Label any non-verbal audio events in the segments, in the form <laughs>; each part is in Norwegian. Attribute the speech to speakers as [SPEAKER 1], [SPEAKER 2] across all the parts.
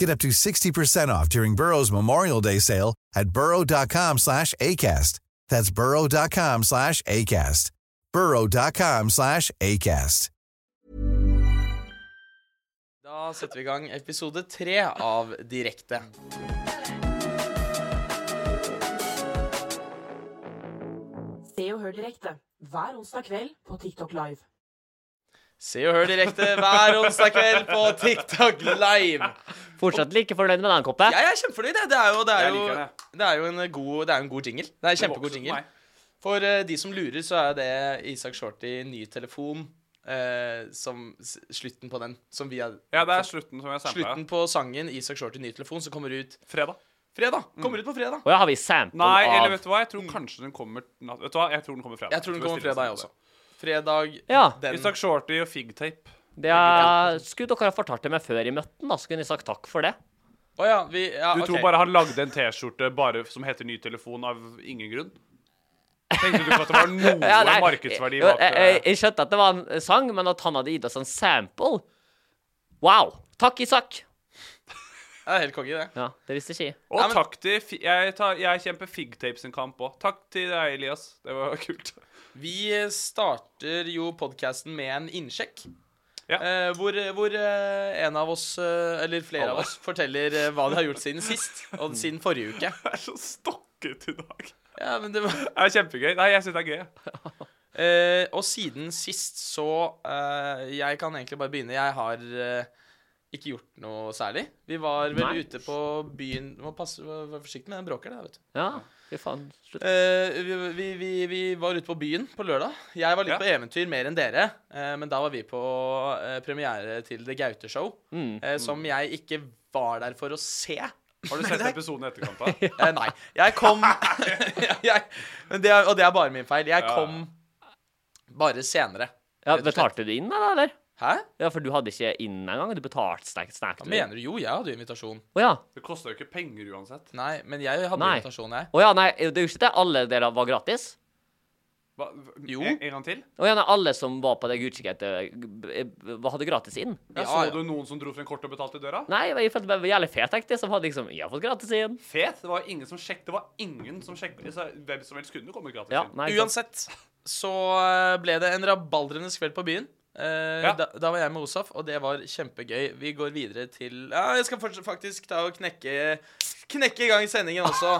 [SPEAKER 1] Get up to 60% off during Burrow's Memorial Day sale at burrow.com slash ACAST. That's burrow.com slash ACAST. burrow.com slash ACAST.
[SPEAKER 2] Da setter vi i gang episode tre av Direkte.
[SPEAKER 3] Se og hør direkte hver onsdag kveld på TikTok Live.
[SPEAKER 2] Se og hør direkte hver onsdag kveld på TikTok Live.
[SPEAKER 4] Fortsatt like fornøyd med den, Koppe?
[SPEAKER 2] Jeg er kjempefornøyd. jeg. Det er jo, det er
[SPEAKER 5] Jeg
[SPEAKER 2] jo,
[SPEAKER 5] liker det.
[SPEAKER 2] det er jo en, god, det er jo en god jingle. Det er en kjempegod
[SPEAKER 5] vokser for
[SPEAKER 2] jingle.
[SPEAKER 5] meg.
[SPEAKER 2] For eh, de som lurer, så er det Isak Shorty ny telefon. eh, som, s- slutten på den. Som vi har
[SPEAKER 5] Ja, det er slutten som jeg sampla.
[SPEAKER 2] Slutten på sangen Isak Shorty ny telefon, som kommer ut
[SPEAKER 5] Fredag. Mm.
[SPEAKER 2] fredag. Kommer ut på fredag.
[SPEAKER 4] Å ja, har vi sample
[SPEAKER 5] Nei,
[SPEAKER 4] av
[SPEAKER 5] eller vet du hva? Jeg tror kanskje den kommer natt... Vet du hva? Jeg tror den kommer fredag.
[SPEAKER 2] Jeg tror den kommer
[SPEAKER 5] det stilles
[SPEAKER 2] fredag, jeg
[SPEAKER 5] sånn.
[SPEAKER 2] også. Fredag
[SPEAKER 4] Ja.
[SPEAKER 2] den
[SPEAKER 5] Isak Shorty og Figtape.
[SPEAKER 4] Det er, skulle dere ha fortalt det meg før i møtten, da, så kunne jeg sagt takk for det.
[SPEAKER 2] Å ja, vi ja, ok.
[SPEAKER 5] Du tror bare han lagde en T-skjorte bare som heter Ny telefon av ingen grunn? Tenkte du ikke at det
[SPEAKER 4] <laughs>
[SPEAKER 5] var noe
[SPEAKER 4] Ja, nei,
[SPEAKER 5] markedsverdi
[SPEAKER 4] jeg,
[SPEAKER 5] bak
[SPEAKER 4] jeg, jeg,
[SPEAKER 5] det?
[SPEAKER 4] jeg skjønte at det var en sang, men at han hadde gitt oss en sample Wow. Takk, Isak.
[SPEAKER 2] Det er helt konge, det.
[SPEAKER 4] Ja, det visste ikke jeg.
[SPEAKER 5] Og
[SPEAKER 2] Nei, men-
[SPEAKER 5] takk til Fi- Jeg, tar, jeg kjemper Figtape sin kamp òg. Takk til deg, Elias. Det var kult.
[SPEAKER 2] Vi starter jo podkasten med en innsjekk.
[SPEAKER 5] Ja.
[SPEAKER 2] Eh, hvor hvor eh, en av oss, eh, eller flere av oss, forteller eh, hva de har gjort siden sist. Og siden forrige uke.
[SPEAKER 5] Det er så stokket i dag.
[SPEAKER 2] Ja, men det var...
[SPEAKER 5] Det er kjempegøy. Nei, jeg syns det er gøy. jeg.
[SPEAKER 2] Eh, og siden sist så eh, Jeg kan egentlig bare begynne. Jeg har eh, ikke gjort noe særlig. Vi var vel
[SPEAKER 4] Nei.
[SPEAKER 2] ute på byen Du må passe, være forsiktig med den bråker der, vet du.
[SPEAKER 4] Ja, fy faen. Slutt.
[SPEAKER 2] Eh, vi, vi, vi, vi var ute på byen på lørdag. Jeg var litt
[SPEAKER 5] Ja.
[SPEAKER 2] på eventyr mer enn dere. eh, men da var vi på eh, premiere til The Gaute Show,
[SPEAKER 4] Mm.
[SPEAKER 2] eh, som jeg ikke var der for å se.
[SPEAKER 5] Har du sett episoden i
[SPEAKER 4] <laughs>
[SPEAKER 5] etterkant? da?
[SPEAKER 2] Eh, nei. Jeg kom <laughs> jeg, men det er, Og det er bare min feil. Jeg
[SPEAKER 5] Ja.
[SPEAKER 2] kom bare senere.
[SPEAKER 4] Ja,
[SPEAKER 2] rett og slett.
[SPEAKER 4] betalte du inn, da, eller?
[SPEAKER 2] Hæ?
[SPEAKER 4] Ja, for du hadde ikke inn engang. Du betalte snak snack
[SPEAKER 2] Hva mener du? Jo, jeg hadde jo invitasjon.
[SPEAKER 4] Å ja.
[SPEAKER 5] Det koster jo ikke penger uansett.
[SPEAKER 2] Nei, men jeg hadde
[SPEAKER 4] Nei.
[SPEAKER 2] invitasjon, jeg.
[SPEAKER 4] Å ja, nei, det er jo ikke det alle dere var gratis.
[SPEAKER 5] Hva?
[SPEAKER 2] Jo.
[SPEAKER 5] En, en gang til?
[SPEAKER 4] Å ja, nei, alle som var på det utkikk etter, eh, hadde gratis inn.
[SPEAKER 5] Ja,
[SPEAKER 2] Ja,
[SPEAKER 5] så
[SPEAKER 2] ja.
[SPEAKER 5] du noen som dro frem kortet og betalte i døra?
[SPEAKER 4] Nei, jeg følte meg jævlig fet, egentlig, som hadde liksom Jeg har fått gratis inn.
[SPEAKER 5] Fet. Det var ingen som sjekket. Det var ingen som sjekket. Så Hvem som helst kunne komme gratis
[SPEAKER 4] Ja,
[SPEAKER 5] inn.
[SPEAKER 4] nei, ikke sant.
[SPEAKER 2] Uansett så eh, ble det en rabaldrenes kveld på byen. Eh,
[SPEAKER 5] Ja.
[SPEAKER 2] da, da var jeg med Osaf, og det var kjempegøy. Vi går videre til ja, Jeg skal forts- faktisk ta og knekke Knekke i gang sendingen
[SPEAKER 4] <laughs>
[SPEAKER 2] også.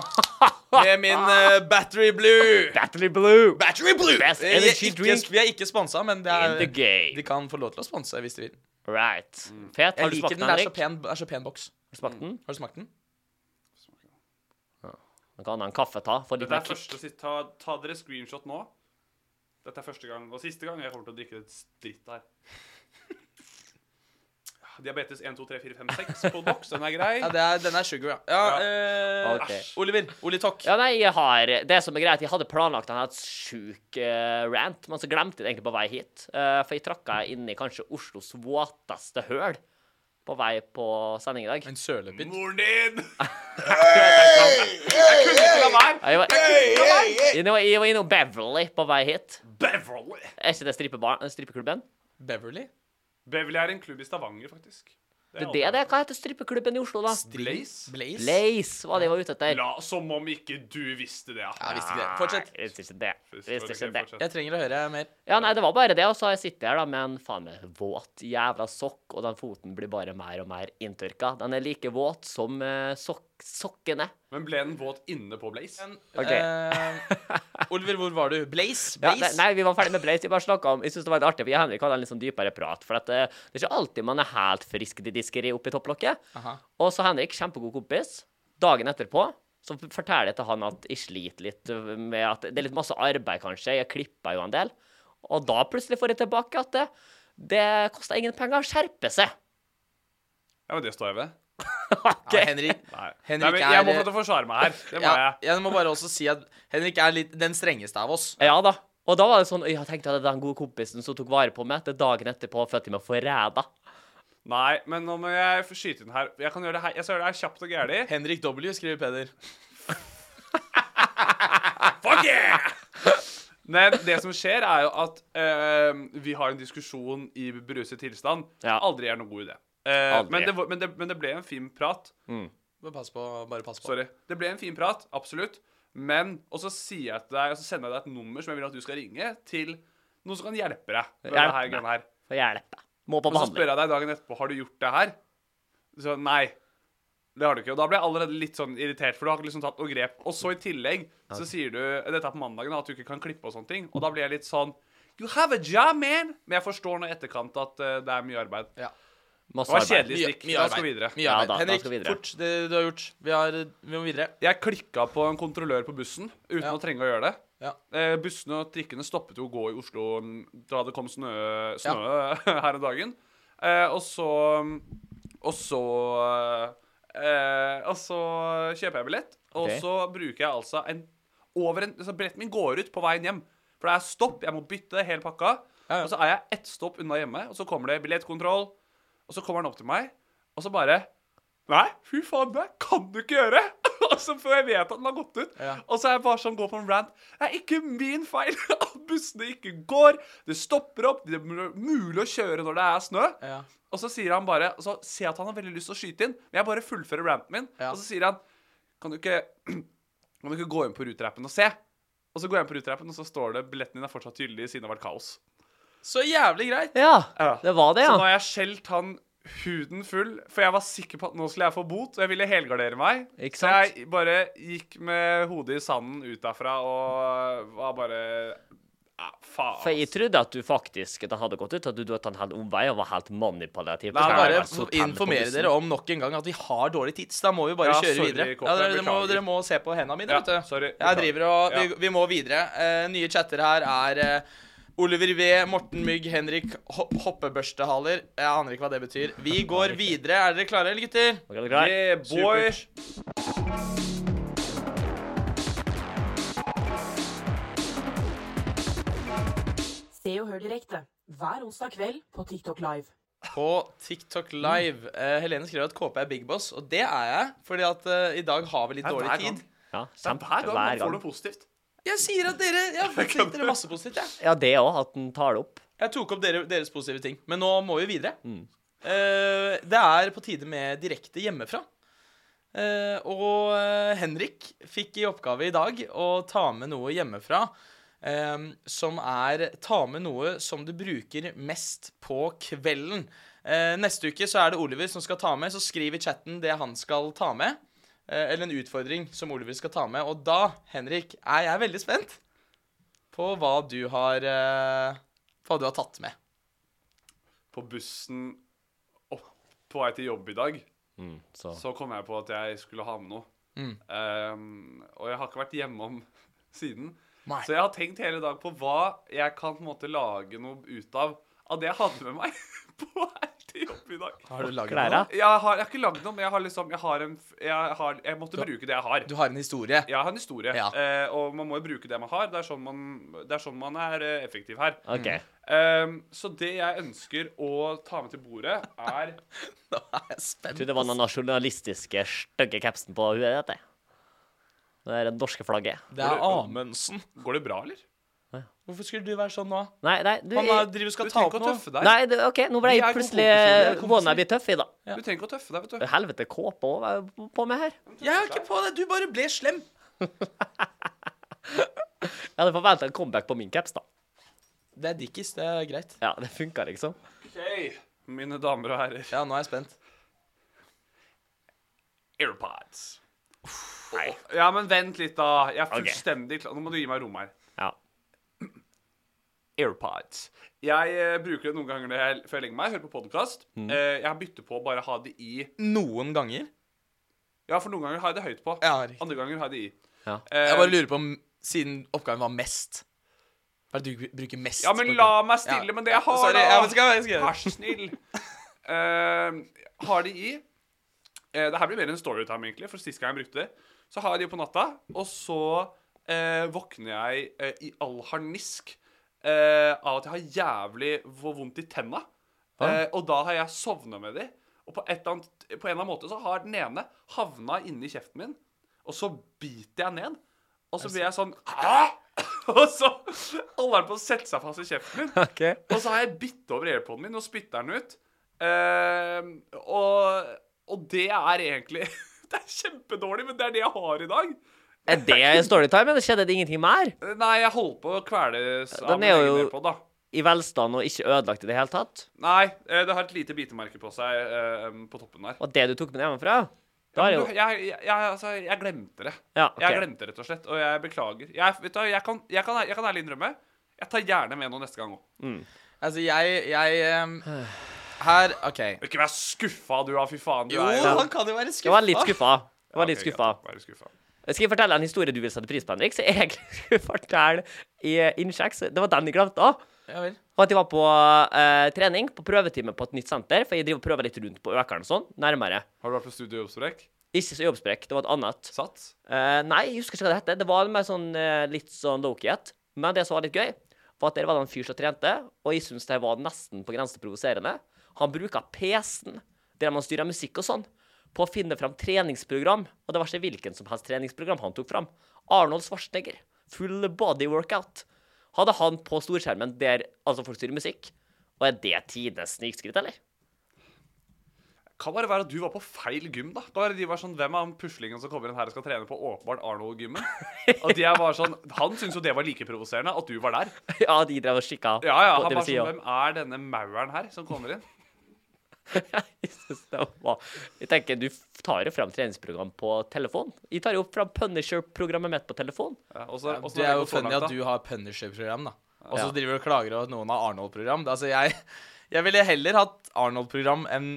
[SPEAKER 2] Med min eh, Battery Blue.
[SPEAKER 4] Battery Blue.
[SPEAKER 2] Battery Blue!
[SPEAKER 4] Best
[SPEAKER 2] Eh, jeg,
[SPEAKER 4] energy
[SPEAKER 2] ikke,
[SPEAKER 4] drink.
[SPEAKER 2] vi er ikke sponsa, men det
[SPEAKER 4] In the
[SPEAKER 2] er,
[SPEAKER 4] game.
[SPEAKER 2] de kan få lov til å sponse hvis de vil.
[SPEAKER 4] Right.
[SPEAKER 5] Mm.
[SPEAKER 4] Fet. Har
[SPEAKER 2] Jeg
[SPEAKER 4] du
[SPEAKER 2] liker
[SPEAKER 4] smakt
[SPEAKER 2] den.
[SPEAKER 4] den,
[SPEAKER 2] Det er så
[SPEAKER 4] Henrik?
[SPEAKER 2] pen, det er så pen boks.
[SPEAKER 4] Har du smakt den?
[SPEAKER 2] Har du smakt den?
[SPEAKER 4] Noe annet enn kaffe ta? For litt
[SPEAKER 5] Dette
[SPEAKER 4] mer
[SPEAKER 5] er
[SPEAKER 4] kick.
[SPEAKER 5] første, sist- ta, ta dere screenshot nå. Dette er første gang og siste gang jeg kommer til å drikke et dritt her. <laughs> Diabetes 1, 2, 3, 4, 5, 6 på boks. Den er grei.
[SPEAKER 2] Ja, det er, den er sugar, ja. ja, eh,
[SPEAKER 4] Ok.
[SPEAKER 2] æsj. Oliver. Oli Tokk.
[SPEAKER 4] Ja, nei, jeg har Det som er greit, jeg hadde planlagt en helt sjuk eh, rant, men så glemte jeg det egentlig på vei hit. Eh, for jeg trakka inn i kanskje Oslos våteste høl på vei på sending i dag.
[SPEAKER 2] En sølepytt.
[SPEAKER 5] Moren din! Jeg kunne ikke la være.
[SPEAKER 4] Ja, Jeg var, jeg var, jeg var innom Beverly på vei hit.
[SPEAKER 5] Beverly.
[SPEAKER 1] eh,
[SPEAKER 4] Er ikke det strippebar- strippeklubben?
[SPEAKER 2] Beverly?
[SPEAKER 5] Beverly er en klubb i Stavanger, faktisk.
[SPEAKER 1] Det er det det er. Hva heter strippeklubben i Oslo, da?
[SPEAKER 5] Blaze?
[SPEAKER 2] Blaze?
[SPEAKER 1] Blaze var det jeg var ute etter.
[SPEAKER 5] La, som om ikke du visste det.
[SPEAKER 2] Ja,
[SPEAKER 5] Ja.
[SPEAKER 2] visste ikke det. Fortsett.
[SPEAKER 1] Nei, visste ikke det. Visste ikke det.
[SPEAKER 2] Jeg trenger å høre mer.
[SPEAKER 1] Ja, nei, det var bare det, og så har jeg sittet her da med en faen meg våt jævla sokk, og den foten blir bare mer og mer inntørka. Den er like våt som eh, sok sokkene.
[SPEAKER 5] Men ble den våt inne på Blaze?
[SPEAKER 2] Men,
[SPEAKER 1] Ok.
[SPEAKER 2] eh, Oliver, hvor var du? Blaze?
[SPEAKER 1] Ja,
[SPEAKER 2] Blaze?
[SPEAKER 1] nei, nei, vi var ferdig med Blaze. Vi bare snakket om Jeg synes det var litt artig, for jeg og Henrik hadde en litt sånn dypere prat. For at, eh, det er ikke alltid man er helt frisk til diskeri oppe i topplokket.
[SPEAKER 2] Aha.
[SPEAKER 1] Og så Henrik, kjempegod kompis, dagen etterpå så forteller jeg til han at jeg sliter litt med at det er litt masse arbeid, kanskje. Jeg klipper jo en del. Og da plutselig får jeg tilbake at det, det koster ingen penger å skjerpe seg.
[SPEAKER 5] Ja, men det står jeg ved.
[SPEAKER 2] Ja, Henrik,
[SPEAKER 5] Nei. Nei,
[SPEAKER 2] Henrik
[SPEAKER 5] men
[SPEAKER 2] er
[SPEAKER 5] jeg må få lov til å forsvare meg her. Det må
[SPEAKER 2] ja,
[SPEAKER 5] jeg.
[SPEAKER 2] jeg må bare også si at Henrik er litt den strengeste av oss.
[SPEAKER 1] Ja da. Og da var det sånn Jeg tenkte at den gode kompisen som tok vare på meg, det dagen etterpå følte jeg meg forræda.
[SPEAKER 5] Nei, men nå må jeg få skyte inn her. Jeg kan gjøre det her, jeg skal gjøre det her kjapt og gærlig.
[SPEAKER 2] Henrik W, skriver Peder.
[SPEAKER 5] Fuck yeah! <laughs> Men det som skjer, er jo at eh, vi har en diskusjon i beruset tilstand.
[SPEAKER 1] Ja.
[SPEAKER 5] Aldri er noen god idé. Eh,
[SPEAKER 1] Aldri.
[SPEAKER 5] men, det, var- men, det, men det ble en fin prat.
[SPEAKER 2] Bare pass på. Bare pass på.
[SPEAKER 5] Sorry. Det ble en fin prat, absolutt. Men Og så sier jeg til deg Og så sender jeg deg et nummer som jeg vil at du skal ringe, til noen som kan hjelpe deg. Med det her,
[SPEAKER 1] Hjelpe
[SPEAKER 5] greiene her.
[SPEAKER 1] For hjelpe. Må på
[SPEAKER 5] Og så spør
[SPEAKER 1] behandling.
[SPEAKER 5] jeg deg dagen etterpå Har du gjort det her. Så nei. Det har du ikke. Og da ble jeg allerede litt sånn irritert, for du har liksom tatt noe grep. Og så i tillegg så sier du dette er på mandagen, da, at du ikke kan klippe og sånne ting. Og da blir jeg litt sånn You have a job, man! Men jeg forstår nå i etterkant at eh, det er mye arbeid.
[SPEAKER 2] Ja.
[SPEAKER 5] Det var
[SPEAKER 1] Masse arbeid.
[SPEAKER 5] kjedelig stikk. La oss gå videre.
[SPEAKER 2] Mye
[SPEAKER 1] Ja,
[SPEAKER 2] arbeid.
[SPEAKER 1] da- da
[SPEAKER 2] Henrik,
[SPEAKER 1] skal vi videre.
[SPEAKER 2] fort. Det du har gjort. Vi, har, vi må videre.
[SPEAKER 5] Jeg klikka på en kontrollør på bussen uten
[SPEAKER 2] Ja.
[SPEAKER 5] å trenge å gjøre det.
[SPEAKER 2] Ja.
[SPEAKER 5] Eh, bussene og trikkene stoppet jo å gå i Oslo mm, da det kom snø, snø <laughs> her om dagen. Eh, og så Og så eh, Og så kjøper jeg billett, og
[SPEAKER 1] Ok.
[SPEAKER 5] så bruker jeg altså en over en, altså Billetten min går ut på veien hjem. For det er stopp, jeg må bytte hele pakka.
[SPEAKER 2] Ja, ja.
[SPEAKER 5] Og så er jeg ett stopp unna hjemme, og så kommer det billettkontroll. Og så kommer han opp til meg, og så bare Nei, fy faen, det kan du ikke gjøre! <laughs> Og så Før jeg vet at den har gått ut.
[SPEAKER 2] Ja.
[SPEAKER 5] Og så er jeg bare sånn, går på en rant. Det er ikke min feil <laughs> at bussene ikke går. Det stopper opp. Det er mul- mulig å kjøre når det er snø.
[SPEAKER 2] Ja.
[SPEAKER 5] Og så sier han bare og Så ser jeg at han har veldig lyst til å skyte inn, men jeg bare fullfører ranten min.
[SPEAKER 2] Ja.
[SPEAKER 5] Og så sier han Kan du ikke <clears throat> Kan du ikke gå inn på Ruterappen og se? Og så går jeg inn på Ruterappen, og så står det billetten din er fortsatt gyldig siden det har vært kaos.
[SPEAKER 2] Så jævlig greit.
[SPEAKER 1] Ja,
[SPEAKER 5] Ja.
[SPEAKER 1] det var det,
[SPEAKER 5] Så nå
[SPEAKER 1] ja.
[SPEAKER 5] har jeg skjelt han huden full, for jeg var sikker på at nå skulle jeg få bot, og jeg ville helgardere meg.
[SPEAKER 1] Ikke
[SPEAKER 5] Så
[SPEAKER 1] sant?
[SPEAKER 5] jeg bare gikk med hodet i sanden ut derfra og var bare ja, faen. altså.
[SPEAKER 1] For jeg trodde at du faktisk at han hadde gått ut, at du, du at han hadde omvei og var helt manipulativ.
[SPEAKER 5] Nei,
[SPEAKER 1] Så
[SPEAKER 5] Ja,
[SPEAKER 1] han
[SPEAKER 2] Bare
[SPEAKER 1] var så tennelig på
[SPEAKER 2] informere
[SPEAKER 1] bussen.
[SPEAKER 2] dere om nok en gang at vi har dårlig tids. Da må vi bare
[SPEAKER 5] Ja,
[SPEAKER 2] kjøre
[SPEAKER 5] sorry,
[SPEAKER 2] videre.
[SPEAKER 5] Kåpe,
[SPEAKER 2] Ja, dere, dere, må,
[SPEAKER 5] beklager.
[SPEAKER 2] dere må se på hendene mine,
[SPEAKER 5] Ja,
[SPEAKER 2] vet du.
[SPEAKER 5] sorry,
[SPEAKER 2] Jeg
[SPEAKER 5] beklager.
[SPEAKER 2] driver og
[SPEAKER 5] Ja.
[SPEAKER 2] vi, vi må videre. Eh, nye chatter her er eh, Oliver V, Morten Mygg, Henrik Ho- Hoppebørstehaler. Jeg aner ikke hva det betyr. Vi går videre. Er dere klare, eller gutter?
[SPEAKER 1] Ok, er du klar?
[SPEAKER 5] Yeah, boy.
[SPEAKER 3] Se og hør direkte hver onsdag kveld på TikTok Live.
[SPEAKER 2] På TikTok Live. Eh, Helene skriver at KP er big boss, og det er jeg. Fordi at eh, i dag har vi litt
[SPEAKER 5] Ja,
[SPEAKER 2] dårlig
[SPEAKER 5] hver gang.
[SPEAKER 2] tid.
[SPEAKER 1] Ja,
[SPEAKER 5] Det er
[SPEAKER 1] sant.
[SPEAKER 5] hver gang man
[SPEAKER 1] Hver
[SPEAKER 5] får
[SPEAKER 1] gang.
[SPEAKER 5] noe positivt.
[SPEAKER 2] Jeg sier at dere Jeg fikk dere masse positivt, jeg.
[SPEAKER 1] Ja, det òg, at han tar det opp. Mm.
[SPEAKER 2] Jeg tok opp dere, deres positive ting, men nå må vi videre. Eh, det er på tide med direkte hjemmefra. Eh, og eh, Henrik fikk i oppgave i dag å ta med noe hjemmefra eh, som er Ta med noe som du bruker mest på kvelden. Eh, neste uke så er det Oliver som skal ta med, så skriv i chatten det han skal ta med. eh, eller en utfordring som Oliver skal ta med. Og da, Henrik, er jeg veldig spent på hva du har eh, Hva du har tatt med.
[SPEAKER 5] På bussen opp på vei til jobb i dag,
[SPEAKER 1] Så
[SPEAKER 5] så kom jeg på at jeg skulle ha med noe.
[SPEAKER 2] Mm.
[SPEAKER 5] Um, og jeg har ikke vært hjemme om <laughs> siden.
[SPEAKER 2] Nei.
[SPEAKER 5] Så jeg har tenkt hele dag på hva jeg kan på en måte lage noe ut av av det jeg hadde med meg <laughs> på vei til jobb i dag.
[SPEAKER 2] Har du laget
[SPEAKER 1] Klæra.
[SPEAKER 5] Jeg har, jeg har ikke lagd noe, men jeg har liksom Jeg, har en, f- jeg, har, jeg måtte bruke det jeg har.
[SPEAKER 2] Du har en historie.
[SPEAKER 5] Jeg har en historie,
[SPEAKER 2] Ja.
[SPEAKER 5] eh, og man må jo bruke det man har. Det er sånn man, det er, sånn man er eh, effektiv her.
[SPEAKER 1] OK.
[SPEAKER 2] Mm. <laughs>
[SPEAKER 5] Um, så det jeg ønsker å ta med til bordet, er
[SPEAKER 2] Nå er jeg spent.
[SPEAKER 1] Trodde det var den nasjonalistiske stygge capsen på huet ditt. Det Det er det norske flagget.
[SPEAKER 2] Det er Amundsen.
[SPEAKER 5] Går det bra, eller?
[SPEAKER 1] Ja,
[SPEAKER 2] Hvorfor skulle du være sånn nå?
[SPEAKER 1] Nei, nei, du,
[SPEAKER 2] Han er,
[SPEAKER 1] jeg,
[SPEAKER 2] driver og skal
[SPEAKER 5] Du
[SPEAKER 2] ta
[SPEAKER 5] trenger
[SPEAKER 2] opp
[SPEAKER 5] ikke å
[SPEAKER 2] noe.
[SPEAKER 5] tøffe deg.
[SPEAKER 1] nei du, OK, nå ble
[SPEAKER 5] Vi
[SPEAKER 1] jeg
[SPEAKER 5] er
[SPEAKER 1] plutselig
[SPEAKER 5] kompiser, vi er kompiser.
[SPEAKER 1] wannabe-tøff i dag.
[SPEAKER 5] Du trenger ikke å tøffe deg, vet du.
[SPEAKER 1] Helvete, kåpe òg var jo på meg her.
[SPEAKER 2] Jeg er ikke på det, du bare ble slem.
[SPEAKER 1] <laughs> Jeg hadde forventa en comeback på min caps, da.
[SPEAKER 2] Det er Dickies, det er greit.
[SPEAKER 1] Ja, det funka, liksom.
[SPEAKER 5] Ok, mine damer og herrer.
[SPEAKER 2] Ja, nå er jeg spent.
[SPEAKER 5] AirPods. Nei. Ja, men vent litt, da. Jeg er fullstendig klar. Nå må du gi meg rom her.
[SPEAKER 1] Ja.
[SPEAKER 5] <clears throat> AirPods. Jeg eh, bruker det noen ganger når jeg, før jeg legger meg. Hører på podkast. jeg bytter på å bare ha det i
[SPEAKER 2] Noen ganger.
[SPEAKER 5] Ja, for noen ganger har jeg det høyt på.
[SPEAKER 2] Ja, riktig.
[SPEAKER 5] Andre ganger har jeg det i.
[SPEAKER 1] Ja.
[SPEAKER 5] Eh,
[SPEAKER 2] Jeg bare lurer på om siden oppgaven var mest. Hva er det du bruker mest?
[SPEAKER 5] ja, men
[SPEAKER 2] på
[SPEAKER 5] la
[SPEAKER 2] oppgaven?
[SPEAKER 5] meg stille
[SPEAKER 2] Ja.
[SPEAKER 5] med det jeg har,
[SPEAKER 2] Sorry,
[SPEAKER 5] da!
[SPEAKER 2] ja, men skal jeg- skal jeg-
[SPEAKER 5] Vær så
[SPEAKER 2] <laughs>
[SPEAKER 5] snill. Eh, har det i. Uh, det her blir mer en storytime, egentlig, for sist gang jeg brukte det. Så har jeg det på natta, og så eh, våkner jeg eh, i all harnisk eh, av at jeg har jævlig hvor vondt i tenna. Eh, og da har jeg sovna med de. Og på, et eller annet, på en eller annen måte så har den ene havna inni kjeften min, og så biter jeg ned. Og så blir jeg
[SPEAKER 2] <clears throat>
[SPEAKER 5] sånn «Æ?» <laughs> Og så holder den på å sette seg fast i kjeften min. Og så har jeg bitt over airpoden min og spytter den ut. Eh, og, og det er egentlig <laughs> Det er kjempedårlig, men det er det jeg har i dag.
[SPEAKER 1] Er det storytime, eller skjedde det ingenting mer?
[SPEAKER 5] Nei, jeg holder på å kveles av
[SPEAKER 1] Den
[SPEAKER 5] min
[SPEAKER 1] er
[SPEAKER 5] egen
[SPEAKER 1] jo-
[SPEAKER 5] airpod, da.
[SPEAKER 1] I velstand og ikke ødelagt i det hele tatt?
[SPEAKER 5] Nei, eh, det har et lite bitemerke på seg eh, på toppen der.
[SPEAKER 1] Og det du tok med deg hjemmefra? Da er
[SPEAKER 5] Men
[SPEAKER 1] jo
[SPEAKER 5] du, jeg, jeg, jeg, altså, jeg glemte det.
[SPEAKER 1] Ja, ok.
[SPEAKER 5] Jeg glemte det, rett og slett. Og jeg beklager. Jeg, vet du, hva, jeg, kan, jeg, kan, jeg kan ærlig innrømme jeg tar gjerne med noe neste gang òg.
[SPEAKER 2] Altså, jeg, jeg
[SPEAKER 1] <sighs>
[SPEAKER 2] ehm, Her, OK.
[SPEAKER 5] Ikke vær skuffa, du, da. Fy faen. Du
[SPEAKER 2] Jo,
[SPEAKER 5] er
[SPEAKER 2] han kan jo være skuffa.
[SPEAKER 1] Jeg var litt skuffa. Jeg var litt
[SPEAKER 5] Ok, greit,
[SPEAKER 1] skuffa.
[SPEAKER 5] Bare skuffa.
[SPEAKER 1] Skal jeg fortelle en historie du vil sette pris på, Henrik? Så jeg <laughs> skulle fortelle i Innsjekk, så det var den jeg glemte òg.
[SPEAKER 2] Ja vel.
[SPEAKER 1] Og at jeg var på eh, trening, på prøvetime på et nytt senter, for jeg driver og prøver litt rundt på økeren og sånn, nærmere.
[SPEAKER 5] Har du vært på studiejobbsprek?
[SPEAKER 1] Ikke så jobbsprekk, det var et annet.
[SPEAKER 5] Sats?
[SPEAKER 1] Eh, nei, jeg husker ikke hva det het. Det var mer sånn, eh, litt sånn lowkey-et. Men det som var litt gøy, var at der var det en fyr som trente, og jeg syns det var nesten på grensen til provoserende. Han bruker PC-en, der man styrer musikk og sånn, på å finne fram treningsprogram. Og det var ikke hvilken som helst treningsprogram han tok fram. Arnold Schwarzenegger. Full body workout. Hadde han på storskjermen der altså folk styrer musikk. Og er det tidenes snikskritt, eller?
[SPEAKER 5] Kan bare være at du var på feil gym, da. Kan være de var sånn, Hvem er han puslingen som kommer inn her og skal trene på åpenbart
[SPEAKER 1] <laughs>
[SPEAKER 5] Arnold-gymmen? At jeg var sånn Han syntes jo det var like provoserende at du var der.
[SPEAKER 1] ja, de drev og kikka.
[SPEAKER 5] Ja, ja.
[SPEAKER 1] på
[SPEAKER 5] Han var
[SPEAKER 1] siden.
[SPEAKER 5] sånn Hvem er denne mauren her som kommer inn?
[SPEAKER 1] <laughs> Jeg synes det var Jeg tenker, du f- tar jo fram treningsprogram på telefon. Jeg tar jo fram Punisher-programmet mitt på telefon.
[SPEAKER 5] Ja, og så- og så
[SPEAKER 2] Det er
[SPEAKER 5] har vi
[SPEAKER 2] jo
[SPEAKER 5] gått så
[SPEAKER 2] funny
[SPEAKER 5] langt,
[SPEAKER 2] at
[SPEAKER 5] da.
[SPEAKER 2] du har Punisher-program, da. Og
[SPEAKER 1] Ja.
[SPEAKER 2] så driver du og klager over at noen har Arnold-program. Altså, jeg, jeg ville heller hatt Arnold-program enn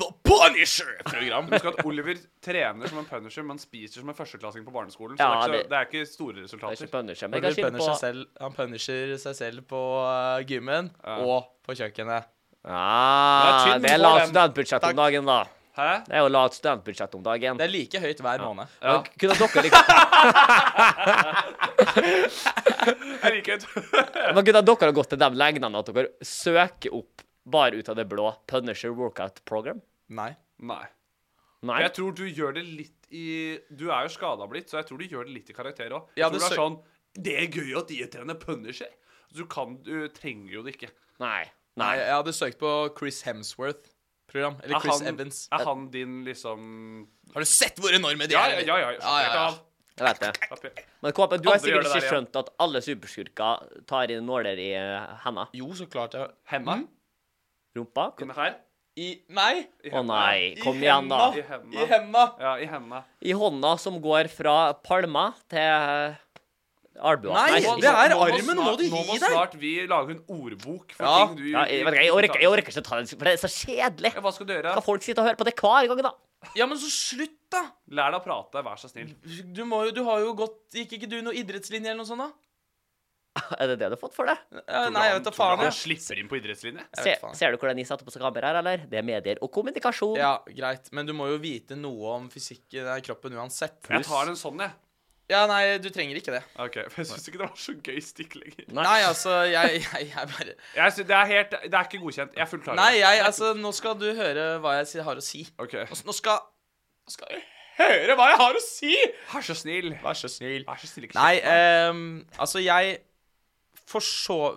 [SPEAKER 2] The Punisher-program.
[SPEAKER 5] Husk at Oliver trener som en punisher, men spiser som en førsteklassing på barneskolen. Så
[SPEAKER 1] Ja,
[SPEAKER 5] det, er ikke, så-
[SPEAKER 1] det-
[SPEAKER 5] det er ikke store
[SPEAKER 1] Det er
[SPEAKER 5] resultater.
[SPEAKER 1] ikke Punisher, men jeg
[SPEAKER 2] Oliver
[SPEAKER 1] kan skille på
[SPEAKER 2] punisher seg selv, han punisher seg selv på eh, gymmen og på kjøkkenet.
[SPEAKER 1] ah,
[SPEAKER 5] Det er tynn
[SPEAKER 1] Det er lavt
[SPEAKER 5] på den.
[SPEAKER 1] studentbudsjett
[SPEAKER 2] Takk.
[SPEAKER 1] om dagen, da.
[SPEAKER 5] Hæ?
[SPEAKER 1] Det er jo lavt studentbudsjett om dagen.
[SPEAKER 2] Det er like høyt hver måned.
[SPEAKER 1] Men Kunne dere liksom
[SPEAKER 5] Jeg liker det.
[SPEAKER 1] Men kunne dere gått til de legnene at dere søker opp bare ut av det blå Punisher workout program?
[SPEAKER 2] Nei.
[SPEAKER 5] Nei.
[SPEAKER 1] Nei?
[SPEAKER 5] Jeg tror du gjør det litt i Du er jo skada blitt, så jeg tror du gjør det litt i karakter òg.
[SPEAKER 2] Ja,
[SPEAKER 5] du
[SPEAKER 2] det
[SPEAKER 5] er
[SPEAKER 2] sø-
[SPEAKER 5] sånn Det er gøy at de trener punisher. Du kan Du trenger jo det ikke.
[SPEAKER 1] Nei.
[SPEAKER 2] Nei.
[SPEAKER 1] Nei.
[SPEAKER 2] Jeg hadde søkt på Chris Hemsworth-program. Eller
[SPEAKER 5] Er
[SPEAKER 2] Chris
[SPEAKER 5] han-
[SPEAKER 2] Evans.
[SPEAKER 5] Er han din liksom
[SPEAKER 2] Har du sett hvor enorme de
[SPEAKER 5] Ja,
[SPEAKER 2] er?
[SPEAKER 5] ja, ja. ja, ja,
[SPEAKER 2] ja, ja.
[SPEAKER 1] Jeg vet det.
[SPEAKER 5] ja.
[SPEAKER 1] Men Kåpe, du har
[SPEAKER 5] Andre gjør
[SPEAKER 1] sikkert
[SPEAKER 5] det
[SPEAKER 1] ikke
[SPEAKER 5] der, ja.
[SPEAKER 1] skjønt at alle superskurker tar inn nåler i eh, henda.
[SPEAKER 2] Jo, så klart jeg
[SPEAKER 5] Hemma?
[SPEAKER 1] Rumpa?
[SPEAKER 5] Denne her?
[SPEAKER 2] I Nei!
[SPEAKER 5] I
[SPEAKER 1] Å
[SPEAKER 5] hemma.
[SPEAKER 1] nei, kom igjen, da.
[SPEAKER 5] I hemma.
[SPEAKER 2] I hemma.
[SPEAKER 5] Ja, i hemma.
[SPEAKER 1] i hånda som går fra palma til eh, albua.
[SPEAKER 2] Nei,
[SPEAKER 1] ikke-
[SPEAKER 2] det er
[SPEAKER 5] Nå må
[SPEAKER 2] armen, nå må du
[SPEAKER 5] Nå
[SPEAKER 2] gi
[SPEAKER 5] må
[SPEAKER 2] deg.
[SPEAKER 5] snart vi lage en ordbok for
[SPEAKER 2] Ja.
[SPEAKER 5] ting du
[SPEAKER 1] ja, jeg, vet ikke, jeg, orker, jeg orker ikke å ta den, for det er så kjedelig.
[SPEAKER 5] Ja, Hva skal du gjøre?
[SPEAKER 1] Skal folk sitte og høre på det hver gang, da?
[SPEAKER 2] Ja, men så slutt, da!
[SPEAKER 5] Lær deg å prate, vær så snill.
[SPEAKER 2] Du, må jo, du har jo gått Gikk ikke du noe idrettslinje eller noe sånt, da?
[SPEAKER 1] Er det det du har fått for det?
[SPEAKER 2] Eh, Nei, jeg vet da faen.
[SPEAKER 5] Han
[SPEAKER 2] jeg.
[SPEAKER 5] slipper inn på idrettslinje.
[SPEAKER 1] Se,
[SPEAKER 2] faen.
[SPEAKER 1] ser du hvordan jeg setter på seg kamera her, eller? Det er medier og kommunikasjon.
[SPEAKER 2] Ja, greit, men du må jo vite noe om fysikken i kroppen uansett.
[SPEAKER 5] Jeg tar en sånn, jeg.
[SPEAKER 2] Ja, nei, du trenger ikke det.
[SPEAKER 5] Ok, for Jeg syns ikke det var så gøy stikk lenger.
[SPEAKER 1] Nei.
[SPEAKER 2] Nei, altså, jeg, <laughs> jeg, jeg bare
[SPEAKER 5] Jeg synes, det, er helt, det er ikke godkjent. Jeg er fullt klar over
[SPEAKER 2] Nei,
[SPEAKER 5] det.
[SPEAKER 2] jeg, altså, nå skal du høre hva jeg si- har å si.
[SPEAKER 5] Ok.
[SPEAKER 2] Nå- Nå skal Nå skal du høre hva jeg har å si!
[SPEAKER 5] Vær så snill.
[SPEAKER 2] Vær så snill.
[SPEAKER 5] Vær så snill. ikke
[SPEAKER 2] Nei,
[SPEAKER 5] kjeft på meg.
[SPEAKER 2] ehm, altså, jeg for så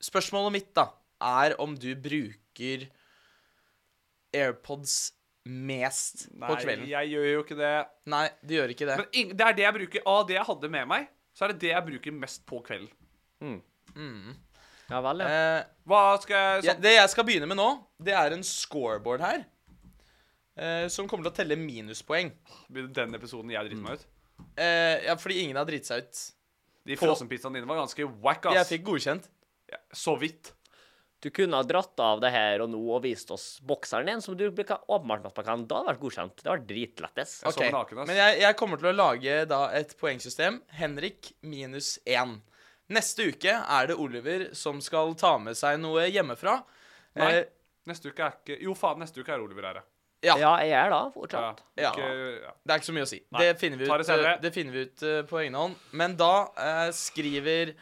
[SPEAKER 2] Spørsmålet mitt, da, er om du bruker AirPods mest på
[SPEAKER 5] Nei,
[SPEAKER 2] kvelden.
[SPEAKER 5] jeg gjør jo ikke det.
[SPEAKER 2] Nei, du gjør ikke det.
[SPEAKER 5] Men ing- det er det jeg bruker av det jeg hadde med meg, så er det det jeg bruker mest på kvelden.
[SPEAKER 1] Ja vel, ja.
[SPEAKER 2] Eh,
[SPEAKER 5] Hva skal jeg
[SPEAKER 2] ja,
[SPEAKER 5] sånn,
[SPEAKER 2] det jeg skal begynne med nå, det er en scoreboard her. eh, som kommer til å telle minuspoeng.
[SPEAKER 5] Blir det den episoden jeg
[SPEAKER 2] Mm.
[SPEAKER 5] driter meg ut?
[SPEAKER 2] Eh, ja, fordi ingen har driti seg ut.
[SPEAKER 5] De
[SPEAKER 2] På-
[SPEAKER 5] frossenpizzaene dine var ganske wack,
[SPEAKER 2] Jeg
[SPEAKER 5] ass.
[SPEAKER 2] fikk godkjent.
[SPEAKER 5] Så vidt.
[SPEAKER 1] Du kunne ha dratt av det her og nå og vist oss bokseren din, som du bruker åpenbart at man kan. Da hadde det vært godkjent. Det hadde vært dritlettes.
[SPEAKER 5] Jeg
[SPEAKER 2] Ok,
[SPEAKER 5] sover naken, ass.
[SPEAKER 2] Men jeg, jeg kommer til å lage da et poengsystem. Henrik minus én. Neste uke er det Oliver som skal ta med seg noe hjemmefra.
[SPEAKER 5] Nei.
[SPEAKER 2] Eh,
[SPEAKER 5] Neste uke er ikke Jo, faen, neste uke er Oliver her, ja.
[SPEAKER 2] ja,
[SPEAKER 1] Ja, jeg er da, fortsatt.
[SPEAKER 2] Ja.
[SPEAKER 5] Ikke, ja.
[SPEAKER 2] Det er ikke så mye å si.
[SPEAKER 5] Nei,
[SPEAKER 2] Det finner vi
[SPEAKER 5] ta
[SPEAKER 2] ut,
[SPEAKER 5] det senere.
[SPEAKER 2] eh, det finner vi ut eh, på egen hånd. Men da eh, skriver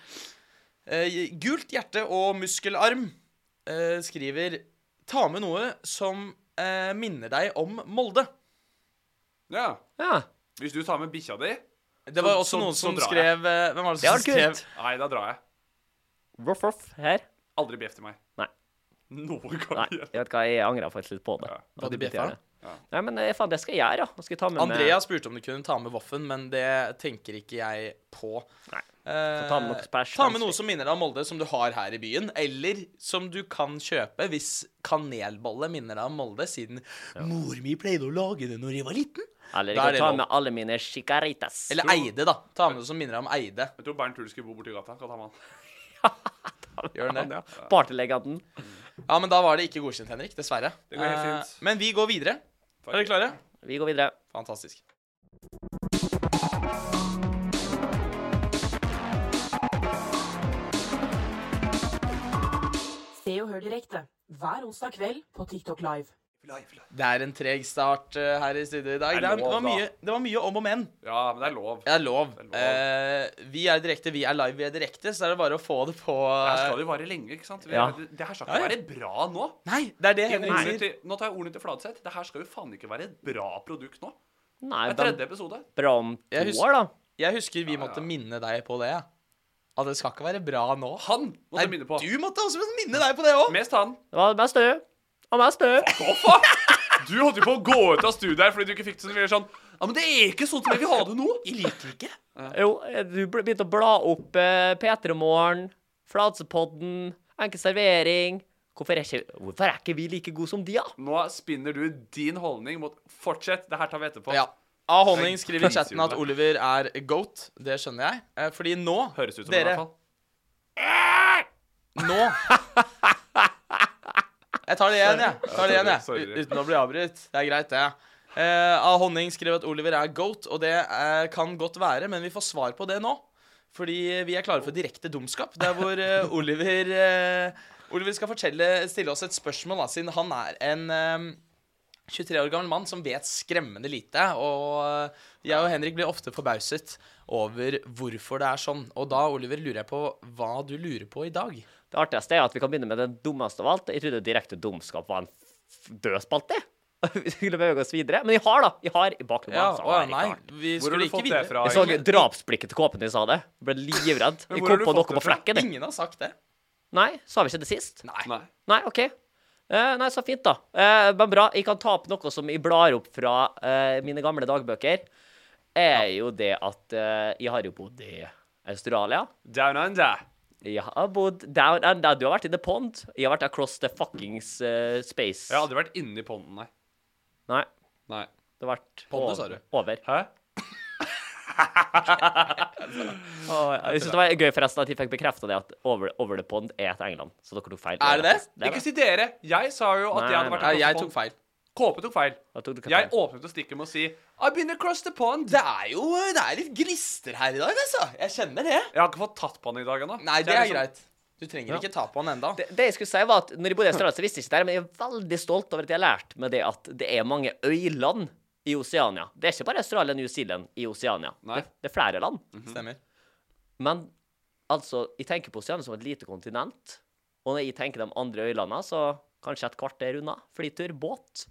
[SPEAKER 2] eh, Gult hjerte og muskelarm eh, skriver Ta med noe som eh, minner deg om Molde.
[SPEAKER 5] ja.
[SPEAKER 1] Ja.
[SPEAKER 5] Hvis du tar med bikkja di
[SPEAKER 2] Det var også
[SPEAKER 5] Så- så-
[SPEAKER 2] noen
[SPEAKER 5] så
[SPEAKER 2] som
[SPEAKER 5] drar jeg.
[SPEAKER 2] skrev eh, Hvem var det
[SPEAKER 1] Det
[SPEAKER 2] som
[SPEAKER 1] var
[SPEAKER 2] skrev
[SPEAKER 1] kult.
[SPEAKER 5] Nei, da drar jeg.
[SPEAKER 1] Ruff, ruff. Her.
[SPEAKER 5] Aldri bjeff til meg.
[SPEAKER 1] Nei.
[SPEAKER 5] Noen
[SPEAKER 1] Nei,
[SPEAKER 5] gang igjen.
[SPEAKER 1] jeg vet hva, jeg angrer faktisk litt på det.
[SPEAKER 2] Hva
[SPEAKER 1] At
[SPEAKER 2] du
[SPEAKER 1] jeg begynte å
[SPEAKER 2] bjeffa?
[SPEAKER 1] gjøre det. Nei, men eh, faen, det skal jeg gjøre, ja. Nå skal jeg ta med
[SPEAKER 5] eh,
[SPEAKER 2] Andrea spurte om du kunne ta med Voffen, men det tenker ikke jeg på.
[SPEAKER 1] meg Nei.
[SPEAKER 2] Eh,
[SPEAKER 1] ta med noe spæsj,
[SPEAKER 2] ta med
[SPEAKER 1] kanskje.
[SPEAKER 2] noe som minner deg om Molde, som du har her i byen. Eller som du kan kjøpe hvis kanelbolle minner deg om Molde, siden mor mi pleide å lage det når jeg var liten.
[SPEAKER 1] Eller
[SPEAKER 2] Da
[SPEAKER 1] jeg
[SPEAKER 2] er det
[SPEAKER 1] kan ta
[SPEAKER 2] lov.
[SPEAKER 1] med alle mine chicaritas.
[SPEAKER 2] Eller Eide, da. Ta med noe som minner deg om Eide.
[SPEAKER 5] Jeg tror Bernt Hull skulle bo borti gata. Kan ta med han.
[SPEAKER 2] Gjør den det?
[SPEAKER 1] Partylegenden.
[SPEAKER 2] Ja, men da var det ikke godkjent, Henrik. Dessverre.
[SPEAKER 5] Det går helt
[SPEAKER 2] Eh,
[SPEAKER 5] fint.
[SPEAKER 2] Men vi går videre. Er dere klare?
[SPEAKER 1] Vi går videre.
[SPEAKER 2] Fantastisk.
[SPEAKER 3] Se og hør direkte hver onsdag kveld på TikTok Live.
[SPEAKER 2] Det er en treg start eh, her i studio i dag.
[SPEAKER 5] Det
[SPEAKER 2] Det,
[SPEAKER 5] er
[SPEAKER 2] er,
[SPEAKER 5] lov,
[SPEAKER 2] det, var,
[SPEAKER 5] da.
[SPEAKER 2] mye, det var mye om og men.
[SPEAKER 5] Ja, men det er lov.
[SPEAKER 2] Det er lov.
[SPEAKER 5] Det er
[SPEAKER 2] Eh, vi er direkte, vi er live, vi er direkte, så er det bare å få det på
[SPEAKER 5] Det her
[SPEAKER 2] eh,
[SPEAKER 5] skal jo vare lenge, ikke sant? Vi,
[SPEAKER 1] Ja.
[SPEAKER 5] det, det her skal ikke
[SPEAKER 2] Ja, ja.
[SPEAKER 5] være bra nå.
[SPEAKER 2] Nei, det er det Henrik
[SPEAKER 5] Ordene
[SPEAKER 2] sier.
[SPEAKER 5] til, nå tar jeg ordene til Fladseth. Det her skal jo faen ikke være et bra produkt nå.
[SPEAKER 1] Nei,
[SPEAKER 5] Det er
[SPEAKER 1] men
[SPEAKER 5] tredje episode.
[SPEAKER 1] bra om
[SPEAKER 2] Jeg
[SPEAKER 1] to
[SPEAKER 2] husker-
[SPEAKER 1] år, da.
[SPEAKER 2] Jeg husker vi måtte minne deg på det. ja. At det skal ikke være bra nå.
[SPEAKER 5] Han måtte
[SPEAKER 2] Nei,
[SPEAKER 5] jeg minne på.
[SPEAKER 2] du måtte også minne deg på det òg.
[SPEAKER 5] Mest han.
[SPEAKER 1] Det var mest du. Og mest du.
[SPEAKER 5] Å, faen! Du holdt jo på å gå ut av studiet her fordi du ikke fikk det sånn. Vi er sånn Ja, men det er ikke sånn som jeg vil ha det nå. Jeg liker ikke.
[SPEAKER 1] Jo, eh, du bl- begynte å bla opp eh, P3 Morgen, Fladsepodden, Enkel servering. Hvorfor er, ikke, hvorfor er ikke vi like gode som de, da?
[SPEAKER 5] Nå spinner du din holdning mot Fortsett, det her tar vi etterpå.
[SPEAKER 2] Ja. A. Honning skriver i chatten at Oliver er goat. Det skjønner jeg. Eh, Fordi nå,
[SPEAKER 5] Høres ut som det, i
[SPEAKER 2] dere
[SPEAKER 5] hvert fall.
[SPEAKER 2] Nå Jeg tar det igjen, jeg. Jeg Tar det igjen,
[SPEAKER 5] Sorry,
[SPEAKER 2] jeg.
[SPEAKER 5] sorry.
[SPEAKER 2] U- Uten å bli avbrutt. Det er greit, det. Eh, A. Honning skriver at Oliver er goat, og det eh, kan godt være, men vi får svar på det nå. Fordi vi er klare for direkte dumskap. Der hvor eh, Oliver eh, Oliver skal fortelle, stille oss et spørsmål, da, siden han er en eh, 23 år gammel mann som vet skremmende lite. Og eh, jeg og Henrik blir ofte forbauset over hvorfor det er sånn. Og da, Oliver, lurer jeg på hva du lurer på i dag.
[SPEAKER 1] Det artigste er at vi kan begynne med den dummeste av alt. Jeg trodde direkte dumskap var en f- død spalte. <laughs> Vi skulle bevege oss videre. Men vi har, da. Vi har i bakgrunnen.
[SPEAKER 2] Ja,
[SPEAKER 1] så
[SPEAKER 2] å,
[SPEAKER 1] har jeg ikke
[SPEAKER 2] nei,
[SPEAKER 1] klart.
[SPEAKER 2] vi
[SPEAKER 5] Hvor har
[SPEAKER 2] skulle
[SPEAKER 5] du
[SPEAKER 2] ikke
[SPEAKER 5] fått det
[SPEAKER 2] videre.
[SPEAKER 5] fra?
[SPEAKER 1] Jeg så drapsblikket til kåpen da jeg sa det. Jeg ble livredd.
[SPEAKER 5] Men
[SPEAKER 1] Jeg
[SPEAKER 5] hvor har
[SPEAKER 1] kom
[SPEAKER 5] du
[SPEAKER 1] på
[SPEAKER 5] fått
[SPEAKER 1] noe
[SPEAKER 5] det
[SPEAKER 1] på
[SPEAKER 5] fra?
[SPEAKER 1] flekken. jeg.
[SPEAKER 2] Ingen har sagt det.
[SPEAKER 1] Nei, sa vi ikke det sist?
[SPEAKER 5] Nei.
[SPEAKER 1] Nei, OK. Eh, nei, så fint, da. Eh, men bra. Jeg kan ta opp noe som jeg blar opp fra eh, mine gamle dagbøker. Er jo det at eh, jeg har jo bodd i Australia.
[SPEAKER 5] Down under.
[SPEAKER 1] Jeg har bodd down under. Du har vært i the pond. Jeg har vært across the fuckings eh, space.
[SPEAKER 5] Jeg har aldri vært inni ponden, nei.
[SPEAKER 1] Nei,
[SPEAKER 5] nei.
[SPEAKER 1] det har vært
[SPEAKER 2] Pondet,
[SPEAKER 1] over-
[SPEAKER 2] sa du?
[SPEAKER 1] over.
[SPEAKER 5] Hæ?
[SPEAKER 1] Å, jeg synes det var gøy forresten at jeg fikk bekrefta det at over, over the pond er til England. Så dere tok feil.
[SPEAKER 2] Er det det?
[SPEAKER 1] er
[SPEAKER 5] Ikke si dere. Jeg sa jo at
[SPEAKER 1] Nei,
[SPEAKER 5] jeg hadde vært
[SPEAKER 1] nei.
[SPEAKER 2] Nei,
[SPEAKER 5] across the
[SPEAKER 2] jeg
[SPEAKER 5] pond.
[SPEAKER 2] tok feil.
[SPEAKER 5] Kåpe tok feil.
[SPEAKER 1] Da tok dere
[SPEAKER 5] Jeg
[SPEAKER 1] feil.
[SPEAKER 5] åpnet og stikket med å si I've been across the pond.
[SPEAKER 2] Det er jo det er litt grister her i dag, altså. Jeg kjenner det.
[SPEAKER 5] Jeg har ikke fått tatt på han i dag ennå.
[SPEAKER 2] Nei,
[SPEAKER 5] Så
[SPEAKER 2] det
[SPEAKER 5] jeg
[SPEAKER 2] er
[SPEAKER 5] liksom-
[SPEAKER 2] greit. Du trenger ikke ta på han enda.
[SPEAKER 1] Det, det jeg skulle si var at når jeg bodde i Australia, så visste jeg ikke det, her, men jeg er veldig stolt over at jeg har lært meg det at det er mange øyland i Oseania. Det er ikke bare Australia og New Zealand i Oseania.
[SPEAKER 5] Nei.
[SPEAKER 1] Det, det er flere land.
[SPEAKER 2] Mhm, Stemmer.
[SPEAKER 1] Men altså, jeg tenker på Oseania som et lite kontinent. Og når jeg tenker de andre øylandene, så kanskje et kvarter unna. Flytur, båt.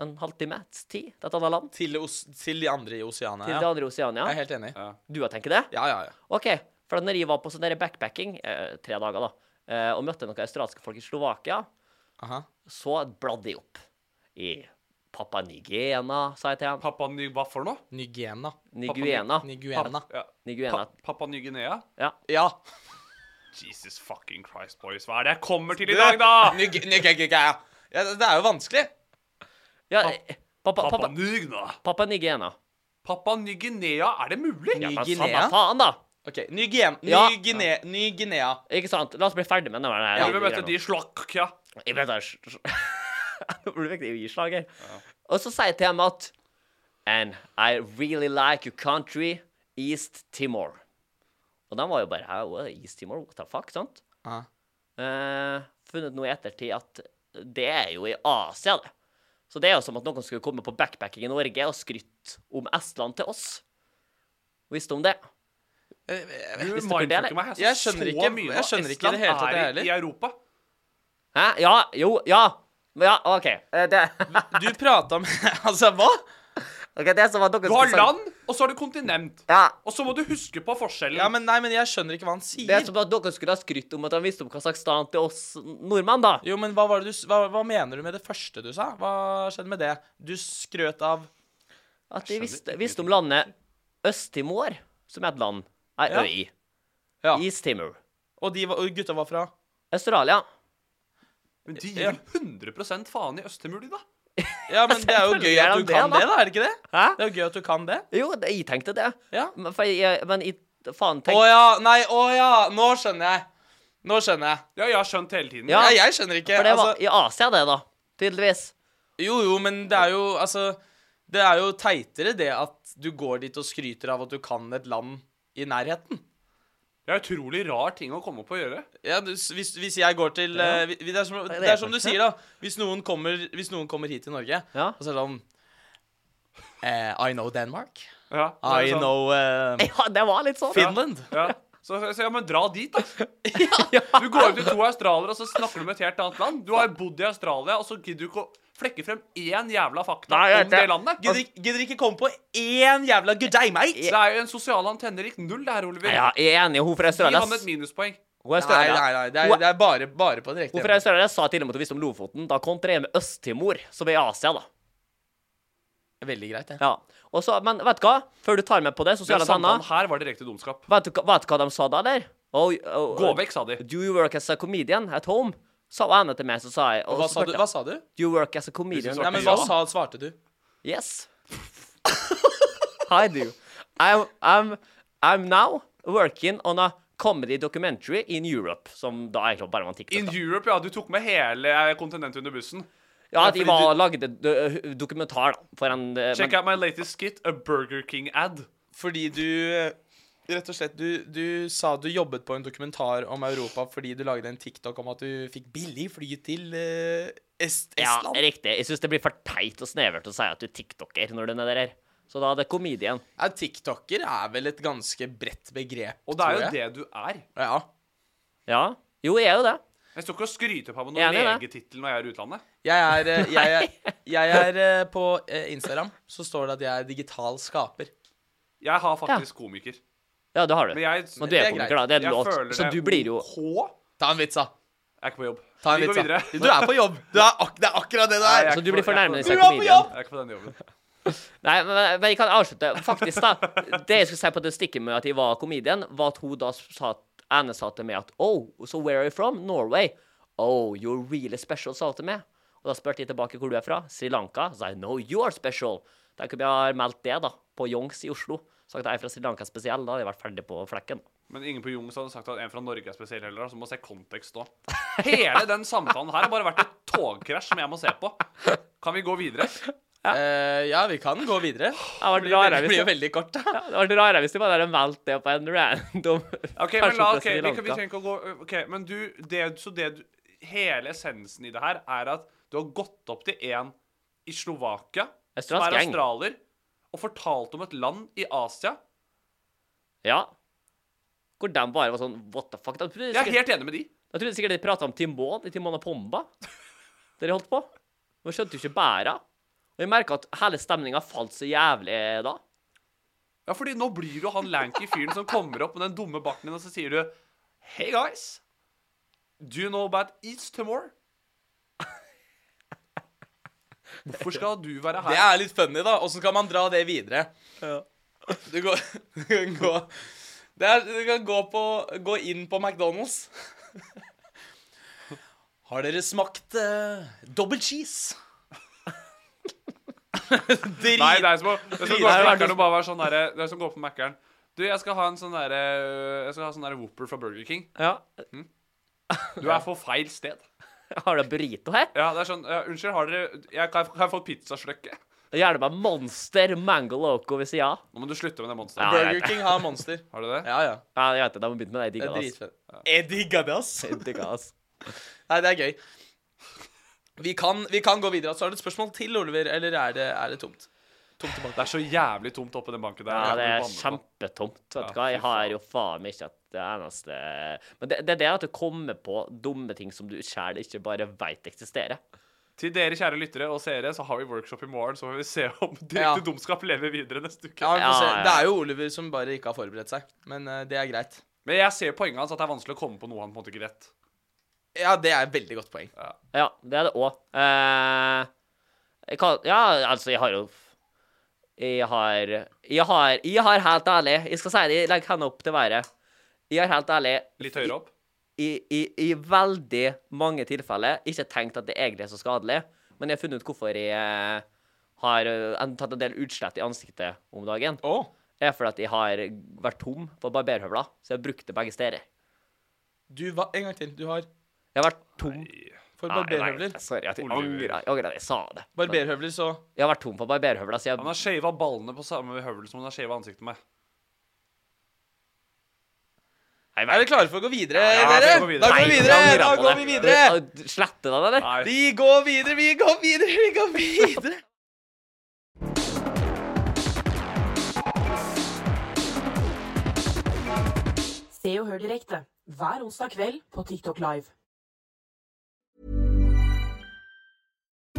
[SPEAKER 1] En halvtimes tid til et annet land.
[SPEAKER 2] Til, os til de andre i Oseanet.
[SPEAKER 1] Til
[SPEAKER 2] Ja.
[SPEAKER 1] det andre Oseania.
[SPEAKER 2] Jeg er helt enig.
[SPEAKER 1] Du har tenkt det?
[SPEAKER 2] Ja, ja, ja.
[SPEAKER 1] OK. For at når jeg var på sånn der backpacking, eh, tre dager da, eh, og møtte noen australske folk i Slovakia,
[SPEAKER 2] Aha.
[SPEAKER 1] så bladde jeg opp i Pappa Nigena, sa jeg til ham.
[SPEAKER 5] Pappa Ny... Hva for noe?
[SPEAKER 2] Nygena.
[SPEAKER 1] Niguena.
[SPEAKER 2] Niguena.
[SPEAKER 5] Ja.
[SPEAKER 1] Niguena.
[SPEAKER 5] Pa- Pappa Ny-Guinea?
[SPEAKER 1] Ja.
[SPEAKER 2] Ja.
[SPEAKER 5] Jesus fucking Christ, boys. Hva er det jeg kommer til i dag, da?
[SPEAKER 2] Nyg- Nygegegea. Ja, det det er jo vanskelig.
[SPEAKER 1] ja eh, pappa,
[SPEAKER 5] Pappa
[SPEAKER 1] pappa,
[SPEAKER 5] Ny-Guinea.
[SPEAKER 1] pappa Nigena.
[SPEAKER 5] Pappa Ny-Guinea, er det mulig?
[SPEAKER 1] Ja, men
[SPEAKER 2] Guinea?
[SPEAKER 1] samme faen, da!
[SPEAKER 2] OK. Nygen...
[SPEAKER 1] Ja.
[SPEAKER 2] Nygine... Nyginea.
[SPEAKER 1] Ikke sant? La oss bli ferdig med det her.
[SPEAKER 5] Ja, vi møtte
[SPEAKER 1] greiene.
[SPEAKER 5] de slakk, ja.
[SPEAKER 1] Jeg ble der <laughs> Nå burde virkelig gi slag her. Og så sier jeg til ham at And I really like your country, East Timor. Og de var jo bare Hæ, what, East Timor? What the fuck? Sant?
[SPEAKER 2] Ja.
[SPEAKER 1] Eh, funnet nå i ettertid at det er jo i Asia, det. Så det er jo som at noen skulle komme på backpacking i Norge og skrytt om Estland til oss. Visste om det.
[SPEAKER 5] Du
[SPEAKER 1] Visste dere det,
[SPEAKER 5] mindfucker
[SPEAKER 1] eller?
[SPEAKER 5] meg. Eh, Jeg,
[SPEAKER 2] Jeg
[SPEAKER 5] så
[SPEAKER 2] skjønner
[SPEAKER 5] så
[SPEAKER 2] ikke-
[SPEAKER 5] mye nå.
[SPEAKER 2] jeg skjønner ikke i det hele
[SPEAKER 5] Estland
[SPEAKER 2] tatt, jeg
[SPEAKER 5] er i-
[SPEAKER 2] heller.
[SPEAKER 5] I Europa.
[SPEAKER 1] Hæ? Ja. Jo. Ja. Ja, OK. Eh, Det,
[SPEAKER 2] Du prata om <laughs> Altså, hva?
[SPEAKER 1] ok, det som var noen
[SPEAKER 5] Du har
[SPEAKER 1] skulle-
[SPEAKER 5] land, og så har du kontinent.
[SPEAKER 1] Ja.
[SPEAKER 5] Og så må du huske på forskjellen.
[SPEAKER 2] Ja, men nei, men jeg skjønner ikke hva han
[SPEAKER 1] Det
[SPEAKER 2] sier.
[SPEAKER 1] er som at dere skulle ha skrytt om at han visste om Kasakhstan til oss nordmenn, da.
[SPEAKER 2] Jo, men hva, var det du, s- hva, hva mener du med det første du sa? Hva skjedde med det? Du skrøt av
[SPEAKER 1] At de visste, visste om landet Øst-Timor, som er et land, ei
[SPEAKER 2] Ja.
[SPEAKER 1] øy.
[SPEAKER 2] Ja.
[SPEAKER 1] East Timor.
[SPEAKER 2] Og, de, var- og gutta var fra
[SPEAKER 1] Australia.
[SPEAKER 5] Men de gir vel 100 faen i Østemur, de, da?
[SPEAKER 2] Ja, men det er jo gøy at
[SPEAKER 1] Selvfølgelig er
[SPEAKER 2] du
[SPEAKER 1] han det,
[SPEAKER 2] kan
[SPEAKER 1] da.
[SPEAKER 2] det, da. Er det ikke det?
[SPEAKER 1] Hæ?
[SPEAKER 2] Det er jo gøy at du kan det.
[SPEAKER 1] Jo, det, jeg tenkte det.
[SPEAKER 2] Ja.
[SPEAKER 1] Men, for jeg, men jeg, faen,
[SPEAKER 2] Å
[SPEAKER 1] tenk
[SPEAKER 2] ja. Nei, å ja. Nå skjønner jeg. Nå skjønner jeg.
[SPEAKER 5] Ja, jeg har skjønt hele tiden.
[SPEAKER 1] Ja.
[SPEAKER 2] Nei, jeg skjønner ikke.
[SPEAKER 1] For det var
[SPEAKER 2] Altså,
[SPEAKER 1] i Asia, det, da. Tydeligvis.
[SPEAKER 2] jo, jo, men det er jo Altså, det er jo teitere det at du går dit og skryter av at du kan et land i nærheten.
[SPEAKER 5] Det er utrolig rar ting å komme på å gjøre.
[SPEAKER 2] Ja, du, s- hvis, hvis jeg går til eh, vi- vi- det, er som,
[SPEAKER 1] er
[SPEAKER 2] det er som du
[SPEAKER 1] kanskje.
[SPEAKER 2] sier, da. Hvis noen kommer, hvis noen kommer hit til Norge,
[SPEAKER 1] Ja.
[SPEAKER 2] og så er det sånn eh, I know Denmark.
[SPEAKER 5] Ja, det er
[SPEAKER 2] I
[SPEAKER 5] sånn.
[SPEAKER 2] know eh,
[SPEAKER 1] Ja, det var litt sånn.
[SPEAKER 2] Finland.
[SPEAKER 5] Ja. Så, så ja, men dra
[SPEAKER 2] <laughs>
[SPEAKER 5] dit, da. Du går opp til to australiere, og så snakker du med et helt annet land. Du har bodd i Australia, og så gidder du ikke å flekke frem én jævla fakta
[SPEAKER 1] Nei, jeg vet
[SPEAKER 5] om det
[SPEAKER 1] det.
[SPEAKER 5] landet.
[SPEAKER 2] Gidder ikke- gidder ikke komme på én jævla good day, mate.
[SPEAKER 5] Det er jo en sosial antenne lik null, det her, Oliver.
[SPEAKER 1] Ja, jeg er enig. Hun fra
[SPEAKER 5] Gi
[SPEAKER 1] Australia
[SPEAKER 5] han et
[SPEAKER 1] Hun
[SPEAKER 5] minuspoeng.
[SPEAKER 1] er
[SPEAKER 2] Nei,
[SPEAKER 1] Australia.
[SPEAKER 2] nei, nei. Det er,
[SPEAKER 1] Hun-
[SPEAKER 2] det er bare, bare på direkte.
[SPEAKER 1] Hun fra Australia sa til og med at hun visste om Lofoten. Da kontrer jeg med Øst-Timor, som er i Asia, da.
[SPEAKER 2] Veldig greit, det.
[SPEAKER 1] Ja. Og så, men vet du hva? Før du tar meg på det,
[SPEAKER 5] Den
[SPEAKER 1] sosiale
[SPEAKER 5] samtalen
[SPEAKER 1] tanner
[SPEAKER 5] her var direkte dumskap.
[SPEAKER 1] vet, du hva- vet du hva de sa da, eller? Oh, oh,
[SPEAKER 5] Gå vekk, sa de.
[SPEAKER 1] Do you work as a comedian at home? Sa han til meg, så sa jeg. Og
[SPEAKER 2] Hva
[SPEAKER 1] så
[SPEAKER 2] sa
[SPEAKER 1] spurte
[SPEAKER 2] du?
[SPEAKER 1] jeg,
[SPEAKER 2] Hva sa du?
[SPEAKER 1] Do you work as a comedian?
[SPEAKER 5] Svarte
[SPEAKER 2] Nei,
[SPEAKER 1] at
[SPEAKER 2] men
[SPEAKER 5] ja.
[SPEAKER 2] hva
[SPEAKER 1] home?
[SPEAKER 2] sa, svarte du?
[SPEAKER 1] Yes. I do. I'm, I'm, I'm now working on a comedy documentary in Europe. Som da egentlig bare var en TikTok.
[SPEAKER 5] In
[SPEAKER 1] da.
[SPEAKER 5] Europe, ja. Du tok med hele eh, kontinentet under bussen.
[SPEAKER 1] Ja, at
[SPEAKER 5] fordi
[SPEAKER 1] de var og lagde do- dokumentar, da. For en eh,
[SPEAKER 5] Check
[SPEAKER 1] men,
[SPEAKER 5] out my latest skit, a Burger King-ad.
[SPEAKER 2] Fordi du eh, Rett og slett, du, du sa du jobbet på en dokumentar om Europa fordi du lagde en TikTok om at du fikk billig fly til eh, Est
[SPEAKER 1] ja,
[SPEAKER 2] Estland.
[SPEAKER 1] riktig. Jeg syns det blir for teit og snevert å si at du er tiktoker når du er nede der. Så da er det comedian.
[SPEAKER 2] Ja, TikToker er vel et ganske bredt begrep,
[SPEAKER 5] Og det er jo
[SPEAKER 2] tror jeg.
[SPEAKER 5] det du er.
[SPEAKER 2] Ja.
[SPEAKER 1] Ja. Jo, jeg er jo det.
[SPEAKER 5] Jeg står ikke og skryter på meg
[SPEAKER 1] Jeg er
[SPEAKER 5] noen
[SPEAKER 1] enig i
[SPEAKER 5] legetittel når jeg er i utlandet.
[SPEAKER 2] Jeg er, eh, jeg
[SPEAKER 1] <laughs>
[SPEAKER 2] er, jeg er eh, På eh, Instagram så står det at jeg er digital skaper.
[SPEAKER 5] Jeg har faktisk komiker.
[SPEAKER 1] Ja, det har du.
[SPEAKER 5] Men jeg
[SPEAKER 1] Men du er,
[SPEAKER 2] det er
[SPEAKER 1] komiker, da. Det er en
[SPEAKER 5] jeg
[SPEAKER 1] låt.
[SPEAKER 5] føler
[SPEAKER 1] Så
[SPEAKER 5] det
[SPEAKER 1] du blir jo
[SPEAKER 5] OK. Jeg
[SPEAKER 2] Ta en vits, da.
[SPEAKER 5] er ikke på jobb.
[SPEAKER 2] Ta en
[SPEAKER 5] Vi går
[SPEAKER 2] vits, da.
[SPEAKER 5] videre.
[SPEAKER 2] Du er på jobb. Du er ak det er akkurat det du
[SPEAKER 5] Nei,
[SPEAKER 2] er.
[SPEAKER 5] jeg er
[SPEAKER 1] Så
[SPEAKER 5] ikke
[SPEAKER 1] du blir
[SPEAKER 5] på- jeg er
[SPEAKER 1] fornærmet
[SPEAKER 5] ikke
[SPEAKER 1] som
[SPEAKER 5] på-
[SPEAKER 1] comedian?
[SPEAKER 5] Jeg er ikke på den
[SPEAKER 1] <laughs>
[SPEAKER 5] jobben.
[SPEAKER 1] Nei, men, men jeg kan avslutte. Faktisk, da. Det jeg skulle si på det stikket med at jeg var comedian, var at hun da sa at Anne sa til meg at Oh, so where are you from? Norway. Oh, you're really special, sa hun til meg. Og da spurte jeg tilbake hvor du er fra. Sri Lanka. Så sa jeg no, you are special. Tenk om jeg har meldt det, da. På Youngs i Oslo. Sagt at jeg er fra Sri Lanka spesiell. Da hadde jeg vært ferdig på flekken.
[SPEAKER 5] Men ingen på Jungs hadde sagt at en fra Norge er spesiell heller, da, så må se kontekst òg. Hele den samtalen her har bare vært et togkrasj som jeg må se på. Kan vi gå videre?
[SPEAKER 2] Eh, ja, vi kan gå videre.
[SPEAKER 1] var
[SPEAKER 2] Det blir,
[SPEAKER 1] rarere
[SPEAKER 2] det
[SPEAKER 1] hvis
[SPEAKER 2] blir jo
[SPEAKER 1] det-
[SPEAKER 2] veldig kort, da.
[SPEAKER 1] Ja, det hadde vært rarere hvis de bare hadde meldt det på en random
[SPEAKER 5] Ok, men la, ok, vi, kan, vi trenger ikke å gå Ok, men du, det, så det du Hele essensen i det her er at du har gått opp til en i Slovakia, som
[SPEAKER 1] Australsk
[SPEAKER 5] er
[SPEAKER 1] gjeng.
[SPEAKER 5] australier, og fortalt om et land i Asia.
[SPEAKER 1] Ja. Hvor de bare var sånn What the fuck? Da trodde jeg
[SPEAKER 5] Jeg er
[SPEAKER 1] sikkert,
[SPEAKER 5] helt enig med de.
[SPEAKER 1] da trodde jeg sikkert de prata om Timon i Timon og Pomba. Dere holdt på. Men skjønte jo ikke bæra. Og jeg merka at hele stemninga falt så jævlig da.
[SPEAKER 5] Ja, fordi nå blir du han lanky fyren som kommer opp med den dumme barten din, og så sier du Hey guys, do you know about East Timor? Hvorfor skal du være
[SPEAKER 1] Det
[SPEAKER 5] her?
[SPEAKER 1] er litt funny, da. Åssen kan man dra det videre? Du, går, <laughs> du kan gå det er, Du kan gå, på, gå inn på McDonald's. Har dere smakt uh, double cheese? Drit.
[SPEAKER 5] Nei, det er som å det er som å gå på
[SPEAKER 1] Nei,
[SPEAKER 5] Mækkern og bare være sånn derre Det er som å gå på Mækkern. Du, jeg skal ha en sånn derre Jeg skal ha sånn derre Whopper fra Burger King. Hm?
[SPEAKER 2] Ja.
[SPEAKER 5] Du er for feil sted.
[SPEAKER 2] Har du burrito her?
[SPEAKER 5] Ja, det er sånn ja, Unnskyld, har dere jeg, kan, jeg, kan jeg få et pizzasløkke?
[SPEAKER 2] Gjerne meg Monster Mango Loco hvis jeg ja.
[SPEAKER 5] Nå må du slutte med det
[SPEAKER 2] Ja,
[SPEAKER 5] monsteret.
[SPEAKER 2] jeg vet
[SPEAKER 1] Burger
[SPEAKER 2] det.
[SPEAKER 1] King har Monster.
[SPEAKER 5] <laughs> Har du det?
[SPEAKER 1] Ja, ja.
[SPEAKER 2] Ja, jeg vet det. De må begynne med
[SPEAKER 1] Det er
[SPEAKER 2] det. Jeg digger det.
[SPEAKER 1] dritfett. Jeg digger det, ass.
[SPEAKER 2] ass. Jeg digger det, ass.
[SPEAKER 1] Nei, det er gøy. Vi kan, vi kan gå videre. Så har du et spørsmål til, Oliver, eller er det, er det tomt? Tomt tilbake.
[SPEAKER 5] Det er så jævlig tomt oppe i den banken der.
[SPEAKER 2] Ja,
[SPEAKER 5] Jeg
[SPEAKER 2] det er
[SPEAKER 5] kan banne på.
[SPEAKER 2] kjempetomt. Vet
[SPEAKER 5] Ja,
[SPEAKER 2] du hva? Jeg
[SPEAKER 5] fy faen.
[SPEAKER 2] har jo faen meg ikke at det eneste Men det, det er det at du kommer på dumme ting som du sjæl ikke bare veit eksisterer.
[SPEAKER 5] Til dere kjære lyttere og seere, så har vi workshop i morgen, så får vi se om <laughs> direkte
[SPEAKER 1] Ja.
[SPEAKER 5] dumskap lever videre neste uke.
[SPEAKER 1] Ja, vi får se.
[SPEAKER 2] Ja, ja.
[SPEAKER 1] Det er jo Oliver som bare ikke har forberedt seg, men eh, det er greit.
[SPEAKER 5] Men jeg ser poenget hans, at det er vanskelig å komme på noe han på en måte ikke vet.
[SPEAKER 1] Ja, det er et veldig godt poeng.
[SPEAKER 2] Ja, det er det òg. Eh, jeg kan Ja, altså, jeg har jo Jeg har Jeg har, jeg har helt ærlig Jeg skal si det, jeg legger hendene opp til været. Jeg har helt ærlig
[SPEAKER 5] Litt høyere opp.
[SPEAKER 2] i, i, i veldig mange tilfeller ikke tenkt at det egentlig er så skadelig, men jeg har funnet ut hvorfor jeg eh, har eh, en- tatt en del utslett i ansiktet om dagen.
[SPEAKER 1] Å.
[SPEAKER 2] er fordi at jeg har vært tom på barberhøvler, så jeg har brukt det begge steder.
[SPEAKER 1] Du, hva? En gang til. Du har
[SPEAKER 2] Jeg har vært
[SPEAKER 1] For
[SPEAKER 2] tom Nei, jeg vet
[SPEAKER 1] barberhøvler.
[SPEAKER 2] det, Sorry, at jeg
[SPEAKER 5] Oliver.
[SPEAKER 2] angrer. Jeg angrer at jeg sa det.
[SPEAKER 1] Barberhøvler, så
[SPEAKER 2] Jeg har vært tom for barberhøvler, så
[SPEAKER 5] Han
[SPEAKER 2] jeg
[SPEAKER 5] har shava ballene på samme høvel som han har shava ansiktet med.
[SPEAKER 2] Nei,
[SPEAKER 1] Er dere klare for å gå videre,
[SPEAKER 5] Ja,
[SPEAKER 1] dere?
[SPEAKER 5] vi går videre.
[SPEAKER 1] Da går vi videre! Da går vi videre!
[SPEAKER 2] Slette den, eller?
[SPEAKER 5] Nei.
[SPEAKER 1] Vi går videre, vi går videre, vi går videre!
[SPEAKER 6] Se og hør direkte hver onsdag kveld på TikTok Live.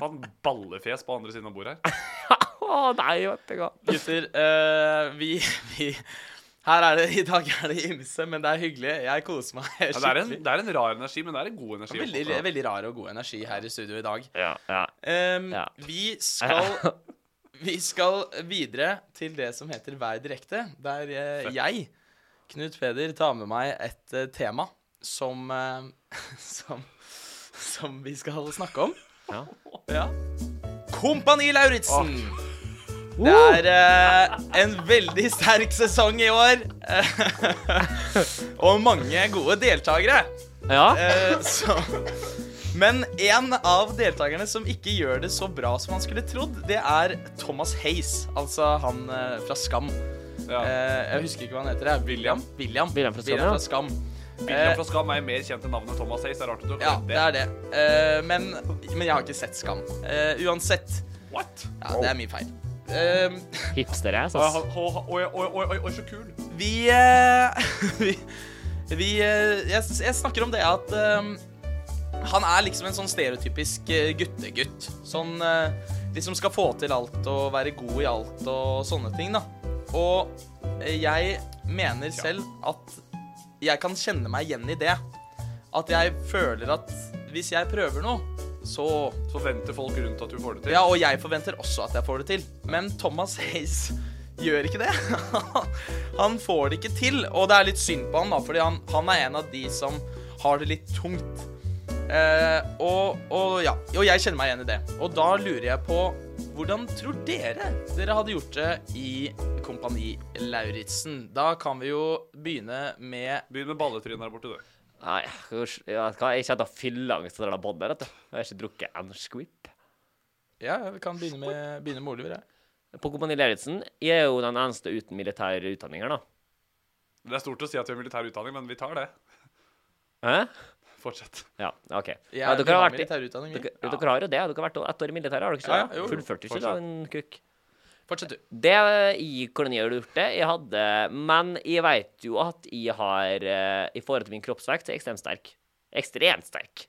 [SPEAKER 5] Faen, ballefjes på andre siden av bordet her.
[SPEAKER 2] <laughs> Å nei, vet du hva.
[SPEAKER 1] Gutter, eh, vi, vi Her er det I dag er det ymse, men det er hyggelig. Jeg koser meg
[SPEAKER 5] Ja, det, er en,
[SPEAKER 1] skikkelig.
[SPEAKER 5] det er en rar energi, men det er en god energi.
[SPEAKER 1] Veldig,
[SPEAKER 5] også.
[SPEAKER 1] veldig rar og god energi her i studio i dag.
[SPEAKER 2] Ja, ja.
[SPEAKER 1] Ehm,
[SPEAKER 2] Ja.
[SPEAKER 1] Vi
[SPEAKER 5] <laughs>
[SPEAKER 1] skal Vi skal videre til det som heter Vær direkte, der eh, jeg, Knut Peder, tar med meg et eh, tema som, eh, som Som vi skal snakke om.
[SPEAKER 2] Ja.
[SPEAKER 1] Ja. Kompani Lauritzen! Det er eh, en veldig sterk sesong i år. og mange gode deltakere.
[SPEAKER 2] ja.
[SPEAKER 1] Eh, så. Men en av deltakerne som ikke gjør det så bra som han skulle trodd, det er Thomas Hayes, altså han eh, fra Skam.
[SPEAKER 5] Ja.
[SPEAKER 1] Eh, jeg husker ikke hva han heter. Jeg. William. William.
[SPEAKER 2] William fra Skam, ja.
[SPEAKER 5] William fra
[SPEAKER 1] Eh,
[SPEAKER 5] Skam er mer kjent enn navnet Thomas Hayes. Det er rart at du har
[SPEAKER 1] ja,
[SPEAKER 5] glemt
[SPEAKER 1] det er det. Eh, men, men jeg har ikke sett Skam. Eh, uansett.
[SPEAKER 5] What?
[SPEAKER 1] Ja, det er min feil. Um,
[SPEAKER 2] Hipster ass,
[SPEAKER 5] Oi,
[SPEAKER 2] ass.
[SPEAKER 5] oi, oi, oi, oi, oi, oi, så kul.
[SPEAKER 1] Vi, eh, vi, vi eh, jeg, jeg snakker om det at eh, han er liksom en sånn stereotypisk eh, guttegutt. Sånn eh, de som skal få til alt og være god i alt og sånne ting, da. Og eh, jeg mener selv at jeg kan kjenne meg igjen i det. At jeg føler at hvis jeg prøver noe, så
[SPEAKER 5] Forventer folk rundt at du får det til?
[SPEAKER 1] ja, og jeg forventer også at jeg får det til. Men Thomas Hayes gjør ikke det. <laughs> han får det ikke til, og det er litt synd på han, da, fordi han, han er en av de som har det litt tungt. Eh, og, og ja, og jeg kjenner meg igjen i det. Og da lurer jeg på hvordan tror dere dere hadde gjort det i Kompani Lauritzen? Da kan vi jo begynne med
[SPEAKER 5] Begynn med balletrynet der borte, du.
[SPEAKER 2] Nei, hors- ja, vet du hva? jeg kjenner fylleangst av det der båndet. vet du. Jeg har ikke drukket en squip.
[SPEAKER 1] Ja, ja, vi kan begynne med, begynne med Oliver. Ja.
[SPEAKER 2] På Kompani Lauritzen jeg er jo den eneste uten militær utdanning her, da.
[SPEAKER 5] Det er stort å si at vi har militær utdanning, men vi tar det.
[SPEAKER 2] Hæ?
[SPEAKER 5] Fortsett.
[SPEAKER 2] Ja, OK.
[SPEAKER 1] Ja,
[SPEAKER 2] Ja,
[SPEAKER 1] vi
[SPEAKER 2] dere, har
[SPEAKER 1] har
[SPEAKER 2] vært,
[SPEAKER 1] militær
[SPEAKER 2] i-
[SPEAKER 1] utdanning, vi.
[SPEAKER 2] dere,
[SPEAKER 1] Ja.
[SPEAKER 2] dere har jo det. Dere har vært ett år i militæret, har dere ikke
[SPEAKER 1] Ja,
[SPEAKER 2] det?
[SPEAKER 1] ja, jo, jo.
[SPEAKER 2] Fullførte ikke da, en kukk.
[SPEAKER 1] Fortsett, du.
[SPEAKER 2] Det i kolonier har gjort det. Jeg hadde Men jeg vet jo at jeg har eh, I forhold til min kroppsvekt så er jeg ekstremt sterk. Ekstremt sterk.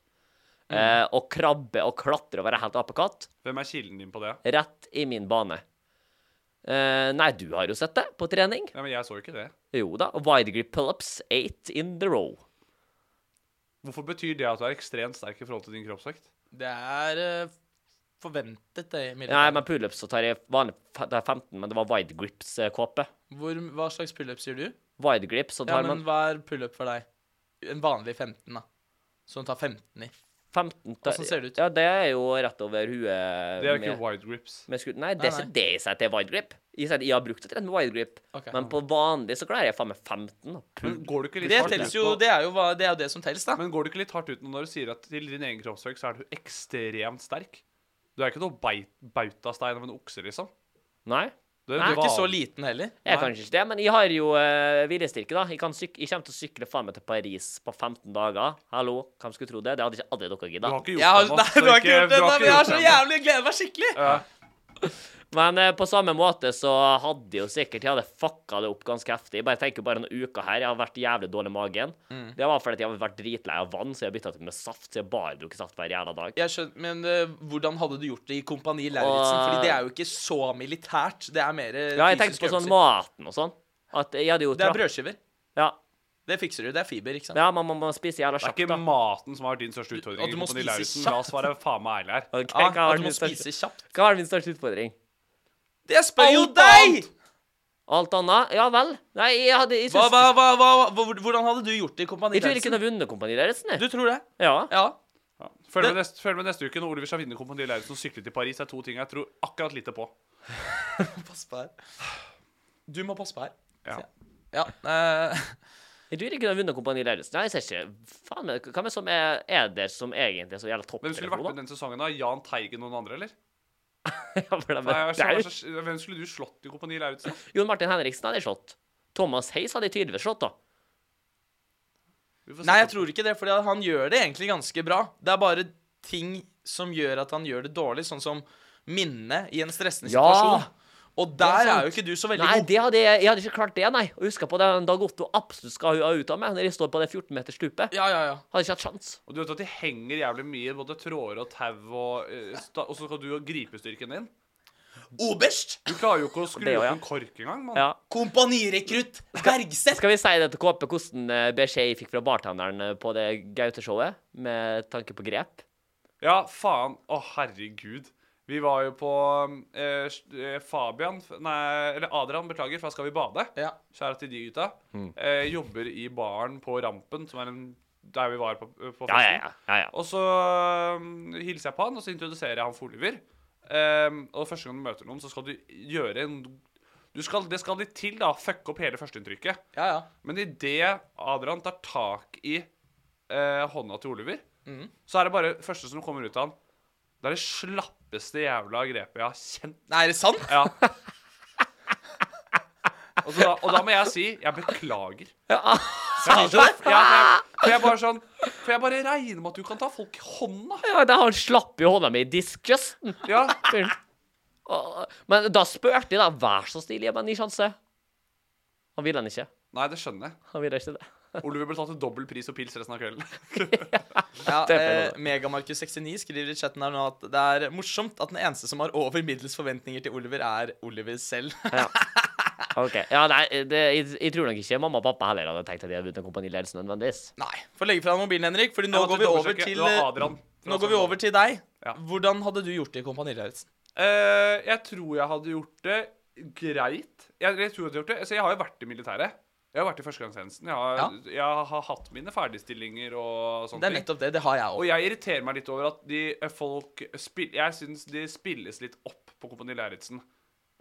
[SPEAKER 1] Mm.
[SPEAKER 2] Eh, å krabbe og klatre og være helt apekatt
[SPEAKER 5] Hvem er kilden din på det?
[SPEAKER 2] rett i min bane. Eh, nei, du har jo sett det på trening.
[SPEAKER 5] Nei, men jeg så jo ikke det.
[SPEAKER 2] Jo da. Wide grip pull-ups, eight in the row.
[SPEAKER 5] Hvorfor betyr det at du er ekstremt sterk i forhold til din kroppsvekt?
[SPEAKER 1] Det er eh, forventet, det. i militæret.
[SPEAKER 2] Nei, men pullups så tar jeg vanlig f- det er 15, men det var wide grips-kåpe.
[SPEAKER 1] Hvor, hva slags pullups gjør du?
[SPEAKER 2] Wide grips, så
[SPEAKER 1] Ja,
[SPEAKER 2] tar
[SPEAKER 1] men
[SPEAKER 2] man
[SPEAKER 1] hva er pullup for deg? En vanlig 15, da. Som tar 15 i.
[SPEAKER 2] 15 tar-
[SPEAKER 1] Hvordan ser det ut?
[SPEAKER 2] Ja, det er jo rett over huet.
[SPEAKER 5] Det er jo
[SPEAKER 2] med-
[SPEAKER 5] ikke wide grips.
[SPEAKER 2] med skruten. Nei, det er
[SPEAKER 1] Nei,
[SPEAKER 2] ikke det jeg sier at det er wide grip. Jeg sier at jeg har brukt et rett med wide grip,
[SPEAKER 1] Ok.
[SPEAKER 2] men på vanlig så klarer jeg faen meg 15. og
[SPEAKER 5] Men
[SPEAKER 2] pull.
[SPEAKER 5] går du ikke litt
[SPEAKER 1] Det,
[SPEAKER 5] hardt
[SPEAKER 1] telles
[SPEAKER 5] ut
[SPEAKER 1] jo,
[SPEAKER 5] nå-
[SPEAKER 1] det, er jo, hva- det er jo det som telles, da.
[SPEAKER 5] Men går du ikke litt hardt ut nå når du sier at til din egen kroppsvekt så er du ekstremt sterk? Du er ikke noe beit, bautastein av en okse, liksom.
[SPEAKER 2] Nei.
[SPEAKER 5] Du er
[SPEAKER 2] Nei.
[SPEAKER 1] Du er ikke
[SPEAKER 5] van-
[SPEAKER 1] så liten heller.
[SPEAKER 2] Jeg er kanskje ikke det, men jeg har jo eh, viljestyrke, da. Jeg, kan syk jeg kommer til å sykle faen meg til Paris på 15 dager. Hallo, hvem skulle tro det? Det hadde ikke aldri dere
[SPEAKER 5] Du
[SPEAKER 2] gidda.
[SPEAKER 5] har ikke
[SPEAKER 1] Jeg har, <laughs>
[SPEAKER 5] gjort
[SPEAKER 1] nei, du har ikke gjort det ennå, men jeg har så
[SPEAKER 5] jævlig
[SPEAKER 1] jævlig jeg gleder meg skikkelig!
[SPEAKER 2] Men eh, på samme måte så hadde jo sikkert Jeg hadde fucka det opp ganske heftig. Jeg bare tenker bare noen uker her. Jeg har vært jævlig dårlig i magen.
[SPEAKER 1] Mm.
[SPEAKER 2] Det var fordi at jeg har vært dritlei av vann, så jeg har bytta til med saft. Så jeg bare drukket saft hver jævla dag.
[SPEAKER 1] Jeg skjønner, men eh, hvordan hadde du gjort det i Kompani Lauritzen?
[SPEAKER 2] Og-
[SPEAKER 1] Fordi det er jo ikke så militært. Det er mer eh,
[SPEAKER 2] Ja, jeg
[SPEAKER 1] fysiske
[SPEAKER 2] tenkte på sånn
[SPEAKER 1] øvelser.
[SPEAKER 2] maten og sånn. At jeg hadde jo
[SPEAKER 1] Det er
[SPEAKER 2] trapp-
[SPEAKER 1] brødskiver.
[SPEAKER 2] Ja.
[SPEAKER 1] Det fikser du. Det er fiber, ikke sant?
[SPEAKER 2] Ja, man må, man må spise jævla
[SPEAKER 5] Det er
[SPEAKER 2] kjapt,
[SPEAKER 5] ikke
[SPEAKER 2] da.
[SPEAKER 5] maten som har vært din største
[SPEAKER 1] Og
[SPEAKER 5] utfordring.
[SPEAKER 1] du må
[SPEAKER 5] Kompani
[SPEAKER 1] spise
[SPEAKER 5] Lauritzen.
[SPEAKER 1] kjapt.
[SPEAKER 5] La oss være faen meg ærlige her.
[SPEAKER 2] Ok,
[SPEAKER 1] Ja, Ah,
[SPEAKER 2] hva
[SPEAKER 1] at
[SPEAKER 2] var
[SPEAKER 1] du
[SPEAKER 2] min
[SPEAKER 1] må
[SPEAKER 2] største-
[SPEAKER 1] spise kjapt.
[SPEAKER 2] Hva var min største utfordring?
[SPEAKER 1] Det spør jo
[SPEAKER 5] Alt
[SPEAKER 1] deg!
[SPEAKER 5] annet.
[SPEAKER 2] Alt annet? Ja vel. Nei, jeg hadde jeg,
[SPEAKER 1] Hva,
[SPEAKER 2] synes,
[SPEAKER 1] hva, hva, hva, hvor- hvordan hadde du gjort det i Kompani
[SPEAKER 2] jeg tror jeg
[SPEAKER 1] Lauritzen?
[SPEAKER 2] kunne ha vunnet Kompani Lauritzen,
[SPEAKER 1] Du
[SPEAKER 2] jeg.
[SPEAKER 1] tror det?
[SPEAKER 2] Ja.
[SPEAKER 1] Ja.
[SPEAKER 5] Ja. Følg,
[SPEAKER 1] Det-
[SPEAKER 5] med neste, følg med neste uke når Oliver skal vinne Kompani Lauritzen og sykle til Paris. Det er to ting jeg tror akkurat lite på.
[SPEAKER 1] Pass på her. Du må passe på her.
[SPEAKER 5] Ja.
[SPEAKER 1] Ja. eh,
[SPEAKER 2] Jeg tror jeg kunne ha vunnet Kompani Lauritzen. Nei, jeg ser ikke Faen, men hvem er, som er, er det som egentlig er så jævla topp?
[SPEAKER 5] Hvem skulle vært med
[SPEAKER 2] <laughs>
[SPEAKER 5] den sesongen? da? Jan Teigen og noen andre, eller? Nei, jeg skjønner hva
[SPEAKER 2] med?
[SPEAKER 5] slags- Hvem skulle du slått i Kompani Lauritzen?
[SPEAKER 2] Jon Martin Henriksen hadde jeg slått. Thomas Hayes hadde jeg tydeligvis slått, da.
[SPEAKER 5] Vi får se.
[SPEAKER 1] nei, jeg tror ikke det, for han gjør det egentlig ganske bra. Det er bare ting som gjør at han gjør det dårlig, sånn som minne i en stressende
[SPEAKER 2] Ja.
[SPEAKER 1] situasjon. Og der
[SPEAKER 2] sant.
[SPEAKER 1] er jo ikke du så veldig
[SPEAKER 2] Nei,
[SPEAKER 1] god.
[SPEAKER 2] det hadde jeg, jeg hadde ikke klart det, nei. Og huska på den Dag Otto absolutt skal ha ut av meg, når jeg står på det 14 meters stupet.
[SPEAKER 1] Ja, ja, ja.
[SPEAKER 2] Hadde ikke hatt sjans.
[SPEAKER 5] Og du vet at de henger jævlig mye, i både tråder og tau, og, eh, sta- og så skal du gripe styrken din?
[SPEAKER 1] Oberst!
[SPEAKER 5] Du klarer jo ikke å skru
[SPEAKER 2] Det
[SPEAKER 5] opp
[SPEAKER 2] også, ja.
[SPEAKER 5] en kork engang, mann.
[SPEAKER 2] Ja.
[SPEAKER 1] Kompanirekrutt Bergseth!
[SPEAKER 2] Skal vi si det til KP hvordan eh, beskjed jeg fikk fra bartenderen eh, på det Gaute-showet, med tanke på grep?
[SPEAKER 5] Ja, faen. Å, herregud. Vi var jo på eh, eh, Fabian f- Nei, eller Adrian, beklager, fra Skal vi bade?
[SPEAKER 1] Ja.
[SPEAKER 5] Kjære til de gutta.
[SPEAKER 2] Mm.
[SPEAKER 5] Eh, jobber i baren på Rampen, som er en, der vi var på, eh, på festen.
[SPEAKER 2] Ja, ja, ja. ja, ja.
[SPEAKER 5] Og så um, hilser jeg på han, og så introduserer jeg han for Oliver. Um, og første gang du møter noen, så skal du gjøre en du skal, Det skal litt til, da. Fucke opp hele førsteinntrykket.
[SPEAKER 1] Ja, ja.
[SPEAKER 5] Men idet Adrian tar tak i eh, hånda til Oliver, så er det bare første som kommer ut av han Det er det slappeste jævla grepet jeg har kjent.
[SPEAKER 1] Nei, er det sant?
[SPEAKER 5] Ja. og, så da, og da må jeg si jeg beklager.
[SPEAKER 1] Sa du det?
[SPEAKER 5] Ja, for, jeg, for jeg bare sånn For jeg bare regner med at du kan ta folk i hånda.
[SPEAKER 2] Ja, det, han slapp jo hånda mi i diskjusten.
[SPEAKER 5] Ja,
[SPEAKER 2] Unnskyld.
[SPEAKER 1] Og- Men da spurte de, da. Vær så snill, gi meg en ny sjanse. Han ville han ikke.
[SPEAKER 5] Nei, det skjønner jeg.
[SPEAKER 1] Han ville ikke det.
[SPEAKER 5] Oliver betalte dobbel pris og pils resten av kvelden.
[SPEAKER 2] Ja,
[SPEAKER 1] <laughs> Det er
[SPEAKER 2] eh,
[SPEAKER 1] bra.
[SPEAKER 2] Megamarkus69 skriver i chatten her nå at det er morsomt at den eneste som har over middels forventninger til Oliver, er Oliver selv. <laughs>
[SPEAKER 1] Ja. OK. Ja, nei, det, jeg, jeg tror nok ikke mamma og pappa heller hadde tenkt at de hadde begynt en kompani Lelsen nødvendigvis.
[SPEAKER 2] Nei. Få legge fra deg mobilen, Henrik, Fordi nå
[SPEAKER 5] Jeg måtte
[SPEAKER 2] går vi over
[SPEAKER 5] dobbeltsjekke.
[SPEAKER 2] til eh,
[SPEAKER 5] Det var Adrian fra
[SPEAKER 2] Nå går vi
[SPEAKER 5] Sogndal.
[SPEAKER 2] over til deg.
[SPEAKER 5] Ja.
[SPEAKER 2] Hvordan hadde du gjort det i Kompani Lauritzen?
[SPEAKER 5] Eh, jeg tror jeg hadde gjort det greit. Jeg, jeg tror jeg hadde gjort det. Altså, jeg har jo vært i militæret. Jeg har vært i førstegangstjenesten. Jeg, har- jeg har hatt mine ferdigstillinger og sånne
[SPEAKER 2] Det er
[SPEAKER 5] ting.
[SPEAKER 2] nettopp det. Det har jeg
[SPEAKER 5] Og
[SPEAKER 2] òg.
[SPEAKER 5] jeg irriterer meg litt over at de eh, folk spill, Jeg syns de spilles litt opp på Kompani Lauritzen.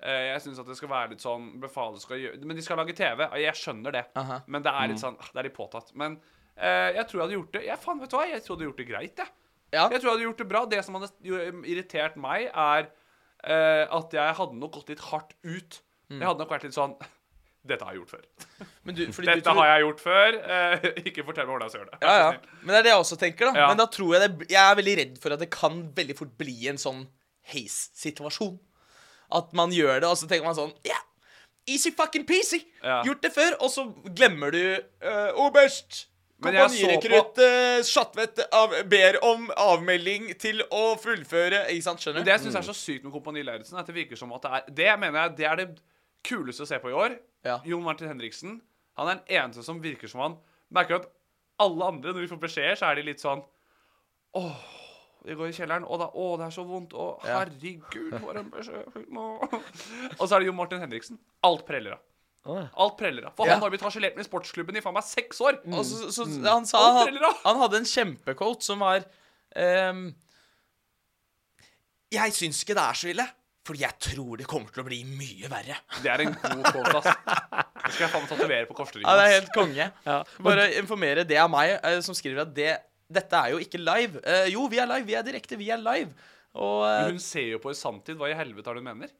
[SPEAKER 5] Eh, Jeg syns at det skal være litt sånn Befalet skal gjøre Men de skal lage TV. og Jeg skjønner det.
[SPEAKER 2] Aha. Mm.
[SPEAKER 5] Men det er litt sånn ah, Det er litt påtatt. Men eh, jeg tror jeg hadde gjort det Jeg, faen, vet du hva? jeg tror jeg hadde gjort det greit, jeg.
[SPEAKER 2] Ja.
[SPEAKER 5] Jeg tror jeg hadde gjort det bra. Det som hadde jo- irritert meg, er eh, at jeg hadde nok gått litt hardt ut.
[SPEAKER 2] Mm.
[SPEAKER 5] Jeg hadde nok vært litt sånn <laughs> Dette har jeg gjort før.
[SPEAKER 2] Men, du, fordi du
[SPEAKER 5] Dette
[SPEAKER 2] tror-
[SPEAKER 5] har jeg gjort før. Eh, <laughs> ikke fortell meg hvordan jeg skal gjøre det.
[SPEAKER 2] ja, ja. Men det er det jeg også tenker, da.
[SPEAKER 5] Ja.
[SPEAKER 2] Men da tror jeg det Jeg er veldig redd for at det kan veldig fort bli en sånn heis-situasjon. At man gjør det, og så tenker man sånn Ja, easy fucking peasy.
[SPEAKER 5] Ja.
[SPEAKER 2] Gjort det før. Og så glemmer du eh, Oberst!
[SPEAKER 5] Men jeg så på-
[SPEAKER 2] Kompanirekrutt eh, Schatvedt av, ber om avmelding til å fullføre. Ikke sant? Skjønner
[SPEAKER 5] Men det jeg syns er så sykt med Kompani Lauritzen, er at det virker som at det er Det mener jeg, det er det kuleste å se på i år.
[SPEAKER 2] Ja.
[SPEAKER 5] Jon Martin Henriksen. Han er den eneste som virker som han merker at alle andre, når de får beskjeder, så er de litt sånn Åh, de går i kjelleren. Å, da, å, det er så vondt. Å,
[SPEAKER 2] Ja.
[SPEAKER 5] herregud, for en beskjed. jeg fikk nå.» Og så er det Jon Martin Henriksen. Alt preller av. Alt preller av. For
[SPEAKER 2] Ja. Mm.
[SPEAKER 5] han har blitt harselert med i sportsklubben i faen meg seks år.
[SPEAKER 2] Og så, så, han sa
[SPEAKER 5] Alt
[SPEAKER 2] han,
[SPEAKER 5] veldig bra.
[SPEAKER 2] han hadde en kjempequote som var ehm, Jeg syns ikke det er så ille, for jeg tror det kommer til å bli mye verre.
[SPEAKER 5] Det er en god quote, ass. Det skal jeg faen meg tatovere på korsryggen.
[SPEAKER 2] Ja, det er
[SPEAKER 5] ass.
[SPEAKER 2] helt
[SPEAKER 5] <laughs>
[SPEAKER 2] konge. Bare informere det av meg eh, som skriver at det, dette er jo ikke live. Eh, jo, vi er live. Vi er direkte. Vi er live. Og eh,
[SPEAKER 5] Hun ser jo på i samtid. Hva i helvete er det hun mener?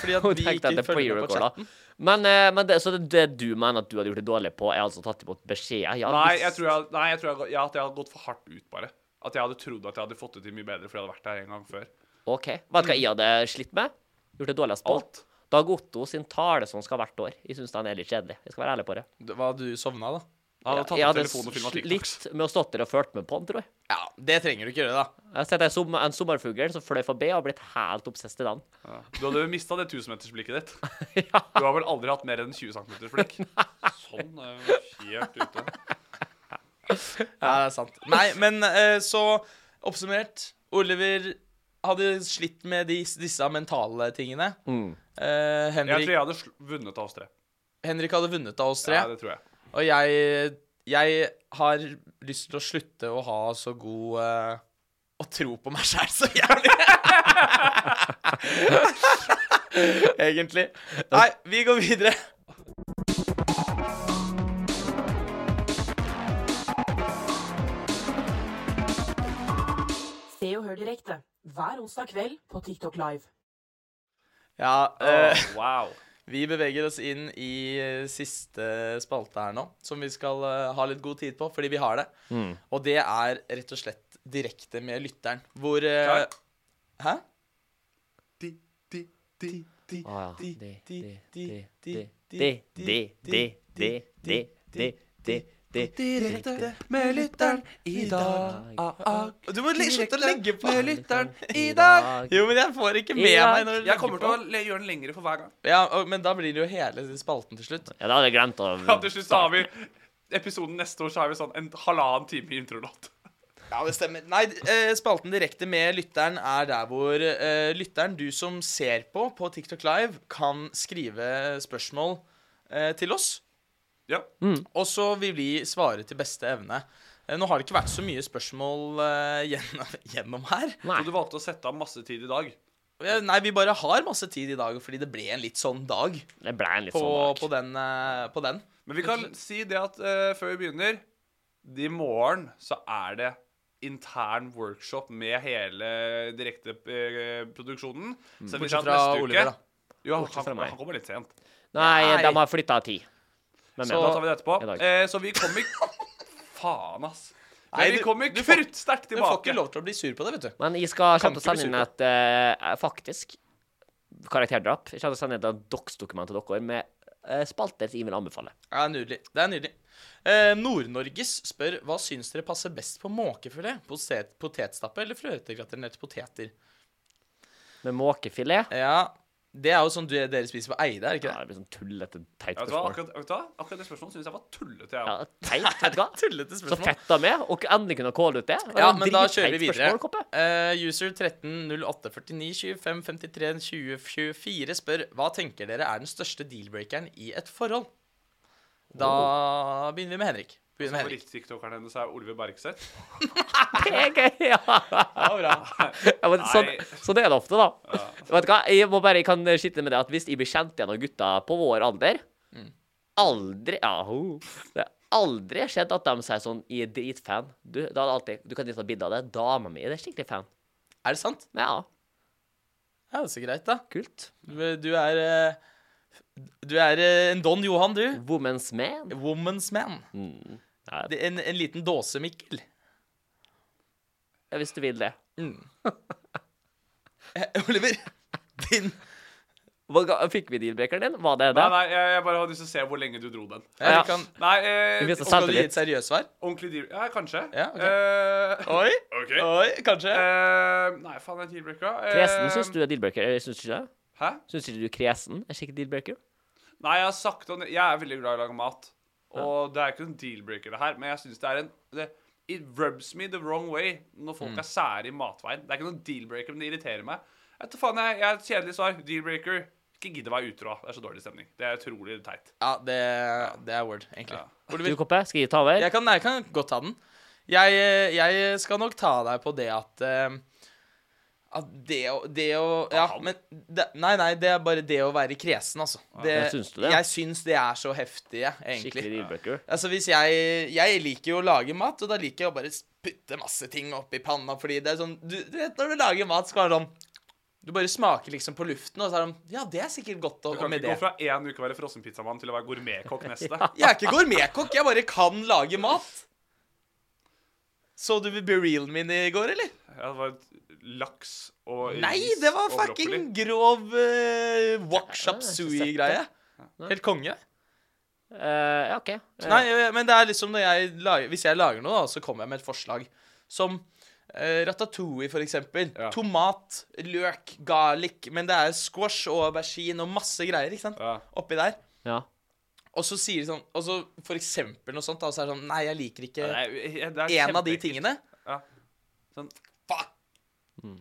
[SPEAKER 2] fordi at
[SPEAKER 1] Hun
[SPEAKER 2] vi
[SPEAKER 1] tenkte at
[SPEAKER 2] ikke
[SPEAKER 1] det
[SPEAKER 2] følger med på
[SPEAKER 1] pre-recorda.
[SPEAKER 2] chatten.
[SPEAKER 1] Men, eh, men det, så det, det du mener at du hadde gjort det dårlig på, er altså tatt imot beskjeder? Ja,
[SPEAKER 5] Nei,
[SPEAKER 1] visst.
[SPEAKER 5] jeg tror, jeg, nei, jeg tror jeg, ja, at jeg hadde gått for hardt ut, bare. At jeg hadde trodd at jeg hadde fått det til mye bedre fordi jeg hadde vært der en gang før.
[SPEAKER 1] OK. Vet du
[SPEAKER 2] Mm.
[SPEAKER 1] hva jeg hadde slitt med? Gjort det dårligst på?
[SPEAKER 5] Alt.
[SPEAKER 1] Dag Otto sin tale som skal hvert år. Jeg syns den er litt kjedelig. Jeg skal være ærlig på det.
[SPEAKER 2] Hva du sovna, da?
[SPEAKER 5] Jeg hadde tatt
[SPEAKER 1] jeg
[SPEAKER 5] opp
[SPEAKER 1] hadde
[SPEAKER 5] telefonen og filma TikToks.
[SPEAKER 1] slitt med å stått der og fulgt med på den, tror jeg.
[SPEAKER 2] Ja, Det trenger du ikke gjøre, da.
[SPEAKER 1] Jeg har sett en, som, en sommerfugl som fløy forbi og blitt helt obsess til den. <laughs>
[SPEAKER 5] Ja. Du hadde mista det tusenmetersblikket ditt. Du har vel aldri hatt mer enn 20 cm blikk? <laughs> Sånn er jo helt ute.
[SPEAKER 2] Ja, det er sant. Nei, men eh, så oppsummert Oliver hadde slitt med de, disse mentale tingene. Eh,
[SPEAKER 5] Jeg tror
[SPEAKER 2] Henrik,
[SPEAKER 5] jeg hadde sl- vunnet av oss tre.
[SPEAKER 2] Henrik hadde vunnet av oss tre.
[SPEAKER 5] Ja, det tror jeg.
[SPEAKER 2] Og jeg, jeg har lyst til å slutte å ha så god eh, Å tro på meg sjæl så jævlig. Egentlig. Nei, vi går videre.
[SPEAKER 3] Se og hør direkte hver onsdag kveld på TikTok Live.
[SPEAKER 2] Ja, eh,
[SPEAKER 5] Åh, wow.
[SPEAKER 2] Vi beveger oss inn i eh, siste spalte her nå, som vi skal eh, ha litt god tid på, fordi vi har det. Og det er rett og slett direkte med lytteren, hvor eh,
[SPEAKER 5] Klar.
[SPEAKER 2] Hæ?
[SPEAKER 5] Di, di, di, di.
[SPEAKER 1] Å ja. De, de, de, de, de, de, de, de, de, de, de, de.
[SPEAKER 2] Direkte med lytteren i dag. Ah, Du må le- slutte å legge på med lytteren i dag. Jo, men jeg får ikke med
[SPEAKER 1] dag.
[SPEAKER 2] meg når du
[SPEAKER 5] Jeg kommer til
[SPEAKER 2] legger
[SPEAKER 5] å le- gjøre den lengre for hver gang.
[SPEAKER 2] på. Ja, og, Men da blir det jo hele spalten til slutt.
[SPEAKER 1] Ja, da hadde jeg glemt å
[SPEAKER 2] <laughs>
[SPEAKER 5] Ja, til slutt så har vi episoden neste år, så har vi sånn en halvannen time introlåt.
[SPEAKER 2] Ja, det stemmer. Nei, eh, spalten direkte med lytteren er der hvor eh, lytteren, du som ser på på TikTok Live, kan skrive spørsmål eh, til oss.
[SPEAKER 5] Ja.
[SPEAKER 2] Og så vil vi svare til beste evne. Eh, Nå har det ikke vært så mye spørsmål eh, gjennom, gjennom her.
[SPEAKER 1] Nei.
[SPEAKER 5] Så du valgte å sette av masse tid i dag.
[SPEAKER 2] Eh, Nei, vi bare har masse tid i dag fordi det ble en litt sånn dag
[SPEAKER 1] Det ble en litt
[SPEAKER 2] på,
[SPEAKER 1] sånn
[SPEAKER 2] på,
[SPEAKER 1] dag.
[SPEAKER 2] den, eh, på den.
[SPEAKER 5] Men vi kan si det at eh, før vi begynner I morgen så er det intern workshop med hele direkteproduksjonen. så vi
[SPEAKER 2] Bortsett
[SPEAKER 5] ser at
[SPEAKER 2] fra
[SPEAKER 5] neste uke-
[SPEAKER 2] Oliver, da.
[SPEAKER 5] Jo, han,
[SPEAKER 1] Bortsett fra
[SPEAKER 5] han,
[SPEAKER 1] meg.
[SPEAKER 5] han kommer litt sent.
[SPEAKER 1] Nei,
[SPEAKER 2] Nei.
[SPEAKER 1] de har flytta tid. Men,
[SPEAKER 5] Da tar vi
[SPEAKER 1] men.
[SPEAKER 5] det etterpå.
[SPEAKER 1] I dag.
[SPEAKER 5] Eh, så vi kommer Faen, ass. Men
[SPEAKER 2] Nei,
[SPEAKER 5] vi
[SPEAKER 2] du-
[SPEAKER 5] kommer
[SPEAKER 2] du får-
[SPEAKER 5] kruttsterkt
[SPEAKER 2] Du får
[SPEAKER 5] tilbake.
[SPEAKER 2] ikke lov til å bli sur på det, vet du.
[SPEAKER 1] men jeg skal
[SPEAKER 2] Kan
[SPEAKER 1] kjapt
[SPEAKER 2] ikke bli
[SPEAKER 1] sende inn
[SPEAKER 2] sur
[SPEAKER 1] et eh, Faktisk
[SPEAKER 2] eh, karakterdrap. Jeg kommer til å sende et docs-dokument til dere med eh, spalter som jeg vil anbefale.
[SPEAKER 1] Ja, nydelig. Det er nydelig. Eh, Nord-Norges spør hva syns dere passer best på måkefilet? Potet, potetstappe eller fløtegratinerte poteter?
[SPEAKER 2] Med måkefilet.
[SPEAKER 1] Ja, Det er jo sånn du, dere spiser på Eide, er det ikke det?
[SPEAKER 2] Ja, det blir sånn tullete, teit
[SPEAKER 5] Vet du
[SPEAKER 2] spørsmål.
[SPEAKER 5] hva, akkurat, vet du hva? akkurat det spørsmålet syns jeg var tullete. Jeg.
[SPEAKER 2] Ja,
[SPEAKER 5] også.
[SPEAKER 2] teit, vet du
[SPEAKER 1] <laughs>
[SPEAKER 2] hva?
[SPEAKER 1] Tullete
[SPEAKER 2] Så
[SPEAKER 1] spørsmål.
[SPEAKER 2] fett de er, og endelig kunne kåle ut det. Det er
[SPEAKER 1] Ja,
[SPEAKER 2] en
[SPEAKER 1] men da
[SPEAKER 2] dritteit
[SPEAKER 1] kjører vi videre.
[SPEAKER 2] spørsmål, Koppe.
[SPEAKER 1] Eh, user 13084925532024 spør hva tenker dere er den største deal-breakeren i et forhold? Da begynner vi med Henrik. Begynner med Henrik.
[SPEAKER 5] Favoritt-tiktokeren hennes er Olive Bergseth.
[SPEAKER 2] Det er gøy, ja.
[SPEAKER 5] <laughs>
[SPEAKER 2] Ja, men sånn,
[SPEAKER 5] Nei.
[SPEAKER 2] sånn er det ofte, da. <laughs> Vet du hva, jeg må bare jeg kan skitne med det at hvis jeg blir kjent igjen av gutta på vår alder
[SPEAKER 1] Mm.
[SPEAKER 2] Aldri ja, ho. Det har aldri skjedd at de sier sånn 'Jeg er dritfan'. Du, da er det alltid, du kan ta bilde av det. Dama mi er skikkelig fan.
[SPEAKER 1] Er det sant?
[SPEAKER 2] Ja,
[SPEAKER 1] Ja, det er så greit, da.
[SPEAKER 2] kult.
[SPEAKER 1] Du er eh, Du er eh, en Don Johan, du.
[SPEAKER 2] Woman's man.
[SPEAKER 1] Woman's man.
[SPEAKER 2] Ja,
[SPEAKER 1] Det er en, en liten dåse, Mikkel.
[SPEAKER 2] ja, hvis du vil det.
[SPEAKER 1] Mm. <laughs> Eh, Oliver, din
[SPEAKER 2] Hva ga- Fikk vi dealbreakeren din? Var det det?
[SPEAKER 5] Nei, nei, jeg, jeg bare hadde lyst til å se hvor lenge du dro den.
[SPEAKER 1] ja,
[SPEAKER 2] Ja.
[SPEAKER 1] vi kan,
[SPEAKER 5] Nei,
[SPEAKER 2] Vi
[SPEAKER 5] eh,
[SPEAKER 2] vet å
[SPEAKER 1] Skal
[SPEAKER 2] selge
[SPEAKER 1] du gi et
[SPEAKER 2] litt.
[SPEAKER 1] seriøst svar?
[SPEAKER 5] ordentlig deal... Ja, kanskje.
[SPEAKER 1] Ja, ok.
[SPEAKER 5] Eh,
[SPEAKER 1] Oi,
[SPEAKER 5] Ok.
[SPEAKER 1] oi, kanskje.
[SPEAKER 5] eh, nei, faen, det er dealbreaker. Eh,
[SPEAKER 2] Kresen syns du er dealbreaker. eh, Syns du ikke det?
[SPEAKER 5] Hæ?
[SPEAKER 2] Syns ikke du kresen er skikkelig dealbreaker?
[SPEAKER 5] Nei, jeg har sagt det. Jeg er veldig glad i å lage mat. Og det er ikke en deal-breaker, det her, men jeg syns det er en det, It rubs me the wrong way når
[SPEAKER 1] Mm.
[SPEAKER 5] folk er sære i matveien. Det er ikke noen deal-breaker, men det irriterer meg. Jeg vet da faen, jeg, jeg er et kjedelig svar. Deal-breaker. Ikke gidd å være utro. Det er så dårlig stemning. Det er utrolig teit.
[SPEAKER 1] Ja, det, det er word, egentlig.
[SPEAKER 2] Du, Koppe, skal jeg ta over?
[SPEAKER 1] Jeg kan, jeg kan godt ta den. Jeg, eh, jeg skal nok ta deg på det at eh, At det å, det å Ja, men det, Nei, nei, det er bare det å være kresen, altså. Det,
[SPEAKER 2] Ja, syns du det?
[SPEAKER 1] Jeg syns det er så heftig, jeg, egentlig.
[SPEAKER 2] Skikkelig dealbreaker.
[SPEAKER 1] Altså hvis jeg, jeg liker jo å lage mat, og da liker jeg å bare putte masse ting oppi panna. Fordi det er sånn Du, du vet når du lager mat, skal du ha sånn Du bare smaker liksom på luften, og så er det sånn Ja, det er sikkert godt,
[SPEAKER 5] Du
[SPEAKER 1] og, og
[SPEAKER 5] kan
[SPEAKER 1] med
[SPEAKER 5] ikke gå
[SPEAKER 1] det
[SPEAKER 5] fra én uke å være frossenpizzamann til å være gourmetkokk
[SPEAKER 1] <laughs>
[SPEAKER 5] neste. ja.
[SPEAKER 1] Jeg er ikke gourmetkokk, jeg bare kan lage mat. Så du Berealen min i går, eller?
[SPEAKER 5] Det var laks og
[SPEAKER 1] Nei,
[SPEAKER 5] ris
[SPEAKER 1] det var
[SPEAKER 5] og
[SPEAKER 1] fucking
[SPEAKER 5] broccoli.
[SPEAKER 1] grov uh, wok-shop
[SPEAKER 2] Nei, jeg har ikke
[SPEAKER 1] sui-greie. Helt konge.
[SPEAKER 2] Eh, ja, OK. Eh,
[SPEAKER 1] Nei, eh, men det er liksom når jeg lager, Hvis jeg lager noe, da, så kommer jeg med et forslag. Som eh, ratatouille, for eksempel.
[SPEAKER 5] Ja.
[SPEAKER 1] Tomat, løk, garlic. Men det er squash og aubergine og masse greier ikke sant?
[SPEAKER 5] Ja.
[SPEAKER 1] oppi der.
[SPEAKER 2] Ja.
[SPEAKER 1] Og så sier de sånn Og så for eksempel noe sånt, da, og så er det sånn Nei, jeg liker ikke
[SPEAKER 5] Nei, det er
[SPEAKER 1] en av de
[SPEAKER 5] kjempeekkelt.
[SPEAKER 1] tingene.
[SPEAKER 5] Ja. Sånn.
[SPEAKER 1] Fuck!
[SPEAKER 2] Mm.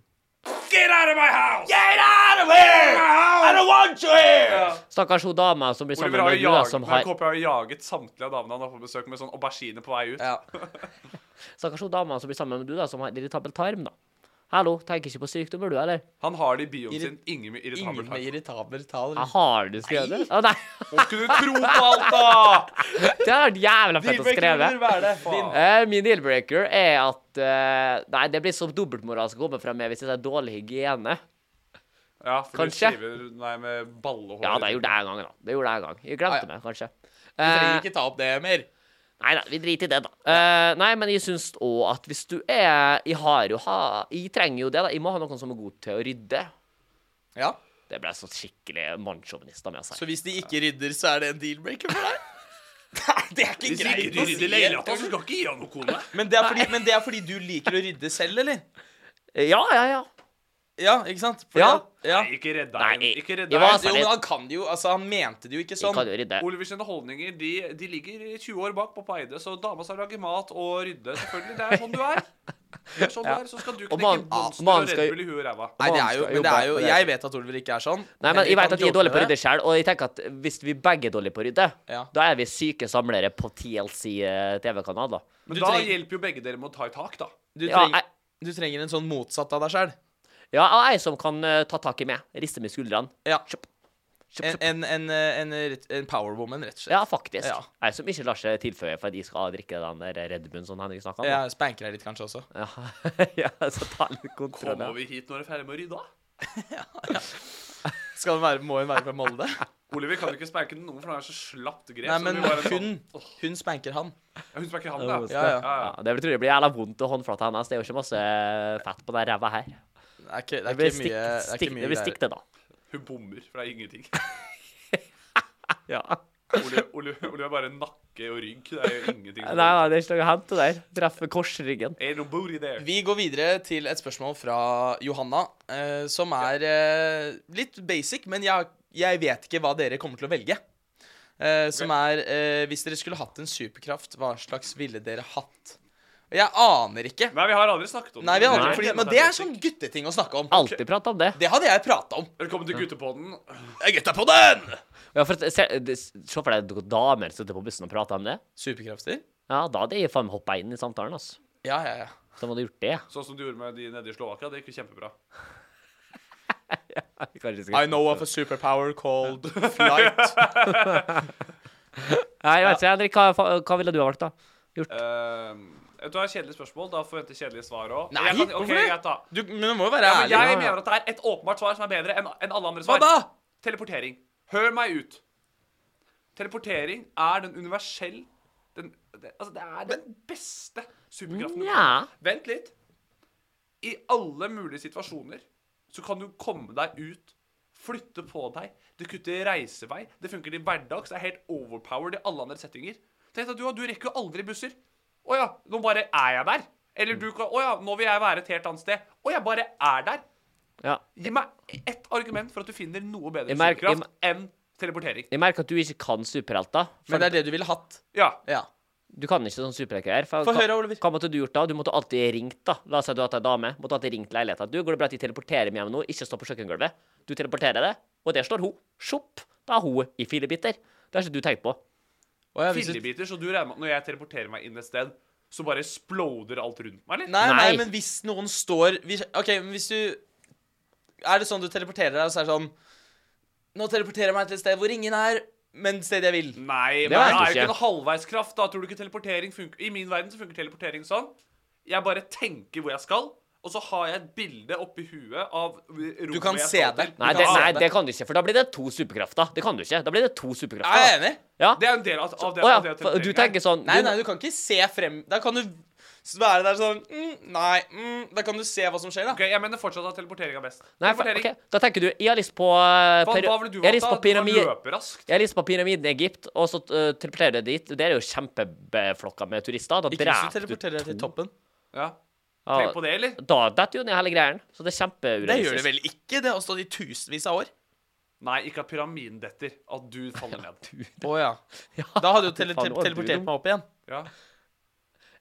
[SPEAKER 5] Get out of my house! Get out of here! I don't want you here!
[SPEAKER 2] Stakkars hun dama som blir sammen
[SPEAKER 5] Oliver har
[SPEAKER 2] med
[SPEAKER 5] jo
[SPEAKER 2] Jula,
[SPEAKER 5] jaget,
[SPEAKER 2] som
[SPEAKER 5] men
[SPEAKER 2] har
[SPEAKER 5] Kåpe har jo jaget samtlige av damene han har på besøk med sånn aubergine på vei ut.
[SPEAKER 1] Ja.
[SPEAKER 2] Stakkars hun dama som blir sammen med du, da, som har irritabel tarm, da. Hallo, tenker ikke på sykdommer, du, eller?
[SPEAKER 5] <laughs> Han har det i bioen sin.
[SPEAKER 1] Irri-
[SPEAKER 5] Ingen med irritabel
[SPEAKER 1] Ingen med
[SPEAKER 5] tanke.
[SPEAKER 1] irritabel tall.
[SPEAKER 2] Jeg Ah, har du skrevet det? Å, nei. <laughs>
[SPEAKER 5] Må ikke du tro på alt, da!
[SPEAKER 2] Det hadde vært jævla fett å skrive.
[SPEAKER 5] Faen.
[SPEAKER 2] Eh, min dealbreaker er at eh, Nei, det blir så dobbeltmoralsk å komme fra meg hvis det er dårlig hygiene.
[SPEAKER 5] Ja, for
[SPEAKER 2] Kanskje.
[SPEAKER 5] du skriver nei med ballehår.
[SPEAKER 2] Ja, det gjorde jeg en gang, da. Det gjorde jeg en gang. Jeg glemte
[SPEAKER 1] Ah, ja.
[SPEAKER 2] meg, kanskje.
[SPEAKER 1] Du
[SPEAKER 2] Eh,
[SPEAKER 1] trenger ikke ta opp det mer.
[SPEAKER 2] Nei da, vi driter i det, da. Eh, nei, men jeg syns òg at hvis du er Jeg har jo ha Jeg trenger jo det, da. Jeg må ha noen som er god til å rydde.
[SPEAKER 1] Ja.
[SPEAKER 2] Det ble så skikkelig mannssjåvinist av meg å si.
[SPEAKER 1] Så hvis de ikke rydder, så er det en deal-breaker for deg? Nei, det er ikke greit å si.
[SPEAKER 5] skal ikke gi han noe kone.
[SPEAKER 1] Men det, er fordi, men det er fordi du liker å rydde selv, eller?
[SPEAKER 2] Eh, Ja, ja, ja.
[SPEAKER 1] Ja, ikke sant? Fordi
[SPEAKER 2] Ja.
[SPEAKER 1] at- ja.
[SPEAKER 5] Nei, ikke redd
[SPEAKER 2] Nei,
[SPEAKER 5] deg. Ikke redd
[SPEAKER 2] jeg
[SPEAKER 5] deg.
[SPEAKER 2] var-
[SPEAKER 1] Jo, men han kan det jo. Altså, han mente det jo ikke
[SPEAKER 2] Jeg kan
[SPEAKER 1] sånn.
[SPEAKER 2] jo rydde.
[SPEAKER 5] Oliver sine holdninger de, de ligger 20 år bak på Eide, så dama skal lage mat og rydde. Selvfølgelig, Det er sånn du er. Det er sånn du er, Så skal du
[SPEAKER 2] Og
[SPEAKER 5] knekke
[SPEAKER 2] man-
[SPEAKER 5] monster
[SPEAKER 2] man
[SPEAKER 5] og
[SPEAKER 2] skal-
[SPEAKER 5] Red Bull i huet og ræva.
[SPEAKER 1] Nei, det er jo, men det er jo
[SPEAKER 2] Jobba på det.
[SPEAKER 1] Jeg vet at Oliver ikke er sånn.
[SPEAKER 2] Nei, men jeg
[SPEAKER 1] Henrik,
[SPEAKER 2] vet
[SPEAKER 1] han
[SPEAKER 2] at vi er
[SPEAKER 1] joker
[SPEAKER 2] dårlige på å
[SPEAKER 1] med
[SPEAKER 2] rydde
[SPEAKER 1] det.
[SPEAKER 2] sjøl, og jeg tenker at hvis vi begge er dårlige på å rydde,
[SPEAKER 1] Ja.
[SPEAKER 2] da er vi syke samlere på TLC eh, TV-kanal, da.
[SPEAKER 5] Men
[SPEAKER 1] Du
[SPEAKER 5] da
[SPEAKER 1] trenger-
[SPEAKER 5] hjelper jo begge dere med å ta i tak, da.
[SPEAKER 1] Du,
[SPEAKER 2] Ja,
[SPEAKER 1] treng, du trenger en sånn motsatt av deg sjøl.
[SPEAKER 2] Ja, og ei som kan eh, ta tak i meg. Riste med skuldrene.
[SPEAKER 1] Ja.
[SPEAKER 2] Kjapp,
[SPEAKER 1] En,
[SPEAKER 2] kjapp.
[SPEAKER 1] en, en, eh, en, en powerwoman, rett og slett.
[SPEAKER 2] Ja, faktisk.
[SPEAKER 1] Ja.
[SPEAKER 2] Ei som ikke lar seg tilføye for at de skal drikke den der Red Bullen som Henrik snakka om. da.
[SPEAKER 1] Jeg spanker deg litt, kanskje, også.
[SPEAKER 2] Ja, ja <laughs> så ta litt kontroll.
[SPEAKER 5] Kommer
[SPEAKER 2] ja.
[SPEAKER 5] vi hit når det er ferdig med å rydde? da?
[SPEAKER 1] Skal hun være, må hun være fra Molde?
[SPEAKER 5] Oliver kan jo ikke spanke noen, for han er så slapt grep.
[SPEAKER 1] Nei,
[SPEAKER 5] så
[SPEAKER 1] men
[SPEAKER 5] det blir bare
[SPEAKER 1] hun,
[SPEAKER 5] sånn-
[SPEAKER 1] hun spanker han.
[SPEAKER 5] Ja, hun spanker han, da.
[SPEAKER 2] Ja,
[SPEAKER 1] ja.
[SPEAKER 2] Ja, det tror jeg blir jævla vondt å håndflate hennes. Det er jo ikke masse fett på den ræva her.
[SPEAKER 1] Det er ikke, det
[SPEAKER 2] Det
[SPEAKER 1] er
[SPEAKER 2] blir
[SPEAKER 1] ikke
[SPEAKER 2] stikk,
[SPEAKER 1] mye, det er
[SPEAKER 2] stikk,
[SPEAKER 1] ikke mye
[SPEAKER 2] det blir stikk
[SPEAKER 1] greier.
[SPEAKER 2] det, da.
[SPEAKER 5] Hun bommer fra ingenting.
[SPEAKER 2] Ja.
[SPEAKER 5] Ole, Ole, Ole er bare nakke og rygg. Det er jo ingenting.
[SPEAKER 2] Nei, nei, det er ikke noe å hente der. Treffer korsryggen.
[SPEAKER 5] Ain't no booty there.
[SPEAKER 1] Vi går videre til et spørsmål fra Johanna, eh, som er eh, litt basic, men jeg, jeg vet ikke hva dere kommer til å velge. Eh, som er eh, Hvis dere skulle hatt en superkraft, hva slags ville dere hatt? Og Jeg aner ikke.
[SPEAKER 5] Nei, vi har aldri snakket om
[SPEAKER 1] Nei, vi
[SPEAKER 5] det.
[SPEAKER 1] har aldri,
[SPEAKER 5] Nei.
[SPEAKER 1] fordi, Men det er sånn gutteting å snakke om.
[SPEAKER 2] Alltid prata om det.
[SPEAKER 1] Det hadde jeg prata om.
[SPEAKER 5] Velkommen til guttepodden.
[SPEAKER 1] Gutta på den!
[SPEAKER 2] Ja, for, at- se, det- se for deg noen damer som sitter på bussen og prater om det.
[SPEAKER 1] Superkrafter?
[SPEAKER 2] Ja, da hadde jeg faen meg hoppa inn i samtalen, altså.
[SPEAKER 1] Ja, ja, ja.
[SPEAKER 2] De hadde gjort det.
[SPEAKER 5] Sånn som du gjorde med de nede i Slovakia. Det gikk jo kjempebra.
[SPEAKER 2] Kanskje
[SPEAKER 1] I know of a superpower called <laughs> flight.
[SPEAKER 2] Nei, jeg vet ikke, Henrik, hva, fa- hva ville du ha valgt, da? Gjort?
[SPEAKER 5] Eh, vet du hva, kjedelig spørsmål. Da forventer jeg kjedelige svar òg.
[SPEAKER 1] Nei, hvorfor det?
[SPEAKER 5] greit, da.
[SPEAKER 1] Du, men du må jo være
[SPEAKER 5] Ja, men
[SPEAKER 1] ærlig.
[SPEAKER 5] jeg mener at det er et åpenbart svar som er bedre enn enn alle andre
[SPEAKER 1] Hva
[SPEAKER 5] svar.
[SPEAKER 1] da?
[SPEAKER 5] Teleportering. Hør meg ut. Teleportering er den universell den, det, Altså, det er den beste superkraften. du kan ha.
[SPEAKER 2] Nja.
[SPEAKER 5] Vent litt. I alle mulige situasjoner så kan du komme deg ut, flytte på deg, det kutter reisevei, det funker til hverdags, det er helt overpowered i alle andre settinger. Tenk deg at du, du rekker jo aldri busser. Å ja, nå bare er jeg der. Eller du kan Å ja, nå vil jeg være et helt annet sted. Å, jeg bare er der.
[SPEAKER 2] Ja.
[SPEAKER 5] Gi meg ett argument for at du finner noe bedre
[SPEAKER 2] Jeg merker- jeg
[SPEAKER 5] superkraft enn teleportering.
[SPEAKER 2] Jeg merker at du ikke kan superhelter.
[SPEAKER 1] Men
[SPEAKER 2] For
[SPEAKER 1] det er det du ville hatt.
[SPEAKER 5] Ja.
[SPEAKER 1] Ja.
[SPEAKER 2] Du kan ikke sånn superheltgreier. for
[SPEAKER 1] Få
[SPEAKER 2] hva-
[SPEAKER 1] høre, Oliver.
[SPEAKER 2] Hva måtte du gjort da? Du måtte alltid ringt, da. La oss si at du hadde en dame. Måtte alltid ringt leiligheten. Du, går det bra at jeg teleporterer meg hjem nå? Ikke stå på kjøkkengulvet. Du teleporterer det, og der står hun. Sjopp! Da er hun i filebiter. Det har ikke du tenkt på.
[SPEAKER 1] Å, ja, hvis du-
[SPEAKER 5] Fillebiter, så du regner med at når jeg teleporterer meg inn et sted, så bare exploder alt rundt meg, eller?
[SPEAKER 1] Nei, nei,
[SPEAKER 2] Nei.
[SPEAKER 1] men hvis noen står hvis, OK, men hvis du Er det sånn du teleporterer deg, og så er det sånn Nå teleporterer jeg meg til et sted hvor ingen er, men et sted jeg vil.
[SPEAKER 5] Nei,
[SPEAKER 2] vet
[SPEAKER 5] men det
[SPEAKER 2] jeg
[SPEAKER 5] er jo
[SPEAKER 2] ikke.
[SPEAKER 5] ikke noe halvveiskraft, da. Tror du ikke teleportering funker I min verden så funker teleportering sånn. Jeg bare tenker hvor jeg skal, og så har jeg et bilde oppi huet av rommet
[SPEAKER 1] kan
[SPEAKER 5] jeg
[SPEAKER 1] se
[SPEAKER 5] skal
[SPEAKER 1] det.
[SPEAKER 5] til.
[SPEAKER 2] Nei
[SPEAKER 1] Du
[SPEAKER 2] det,
[SPEAKER 1] kan
[SPEAKER 2] nei,
[SPEAKER 1] se det.
[SPEAKER 2] det kan du ikke, for da blir det to superkrafter. Det kan du ikke. Da blir det to superkrafter.
[SPEAKER 1] Ja, jeg er
[SPEAKER 2] da.
[SPEAKER 1] enig.
[SPEAKER 2] Ja.
[SPEAKER 5] Det er en del av, av det.
[SPEAKER 2] Å ja,
[SPEAKER 5] av det
[SPEAKER 2] for du
[SPEAKER 5] teleportering er.
[SPEAKER 2] tenker sånn
[SPEAKER 1] Nei,
[SPEAKER 2] du-
[SPEAKER 1] nei, du kan ikke se frem Da kan du s- være der sånn mm, Nei, mm, da kan du se hva som skjer, da.
[SPEAKER 5] sånn. Ok, Jeg mener fortsatt at teleportering er best.
[SPEAKER 2] Nei, for,
[SPEAKER 5] teleportering.
[SPEAKER 2] ok, Da tenker du Jeg har lyst på eh,
[SPEAKER 5] Hva,
[SPEAKER 2] pyra-
[SPEAKER 5] hva ville du
[SPEAKER 2] Jeg har lyst på
[SPEAKER 5] valgt, da? Du
[SPEAKER 2] pyramid
[SPEAKER 5] kan løpe raskt.
[SPEAKER 2] Jeg har lyst på pyramiden i Egypt, og så eh, teleporterer du dit. Det er jo kjempeflokka med turister. Da
[SPEAKER 1] Ikke hvis du
[SPEAKER 2] dreper du
[SPEAKER 1] teleporterer deg til toppen.
[SPEAKER 5] Ja.
[SPEAKER 2] Ja.
[SPEAKER 5] Tenk på det, eller?
[SPEAKER 2] Da detter jo ned hele greien. Så det er
[SPEAKER 1] Det gjør det
[SPEAKER 2] kjempeurealistisk.
[SPEAKER 1] vel
[SPEAKER 2] <laughs>
[SPEAKER 1] ikke? Det har stått i tusenvis av år.
[SPEAKER 5] Nei, ikke at pyramiden detter. At du faller ned.
[SPEAKER 1] Å ja. Da hadde jo tele
[SPEAKER 2] Faen, nå er du
[SPEAKER 1] teleportert
[SPEAKER 2] dum.
[SPEAKER 1] meg opp igjen.
[SPEAKER 5] Ja.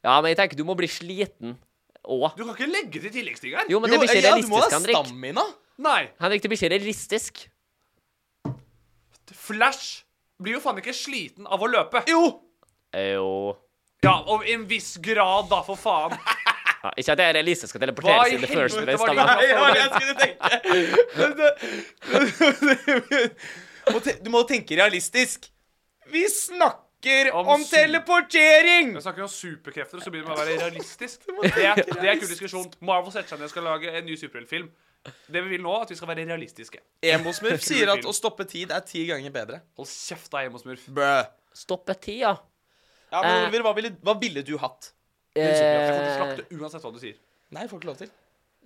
[SPEAKER 2] Ja, men jeg tenker du må bli sliten òg.
[SPEAKER 5] Du kan ikke legge til tilleggsting her.
[SPEAKER 2] Jo, men det blir ikke
[SPEAKER 1] ja, du må
[SPEAKER 2] realistisk,
[SPEAKER 1] ha
[SPEAKER 2] Henrik.
[SPEAKER 1] stamina.
[SPEAKER 5] Nei.
[SPEAKER 2] Henrik, det blir ikke realistisk.
[SPEAKER 5] Flash blir jo faen ikke sliten av å løpe.
[SPEAKER 1] Jo!
[SPEAKER 2] Eh, Jo
[SPEAKER 5] Ja, og i en viss grad, da, for faen.
[SPEAKER 2] ja, Ikke at det er realistisk skal teleportere
[SPEAKER 5] Hva i
[SPEAKER 2] seg i the first place,
[SPEAKER 5] helvete
[SPEAKER 2] da,
[SPEAKER 5] var det
[SPEAKER 2] men-
[SPEAKER 5] her?
[SPEAKER 1] Det var det jeg skulle tenke. Må te- Du må tenke realistisk. Vi snakker
[SPEAKER 5] Om
[SPEAKER 1] om,
[SPEAKER 5] su-
[SPEAKER 1] teleportering!
[SPEAKER 5] Jeg snakker om superkrefter, og så begynner man å være realistisk. <laughs> Det er, det er kul diskusjon. Marvel setter seg ned og skal lage en ny superheltfilm. Det vi vil nå, er at vi skal være realistiske.
[SPEAKER 1] Emosmurf sier at å
[SPEAKER 5] film.
[SPEAKER 1] stoppe tid er ti ganger bedre.
[SPEAKER 5] Hold kjeft, da, Emo Smurf.
[SPEAKER 1] Brø.
[SPEAKER 2] <laughs> Stoppe tida.
[SPEAKER 1] Ja, men
[SPEAKER 2] Eh.
[SPEAKER 1] Oliver, hva ville, hva ville du hatt?
[SPEAKER 5] Jeg kommer til å
[SPEAKER 2] Eh,
[SPEAKER 5] slakte uansett hva du sier.
[SPEAKER 1] Nei, får ikke lov til.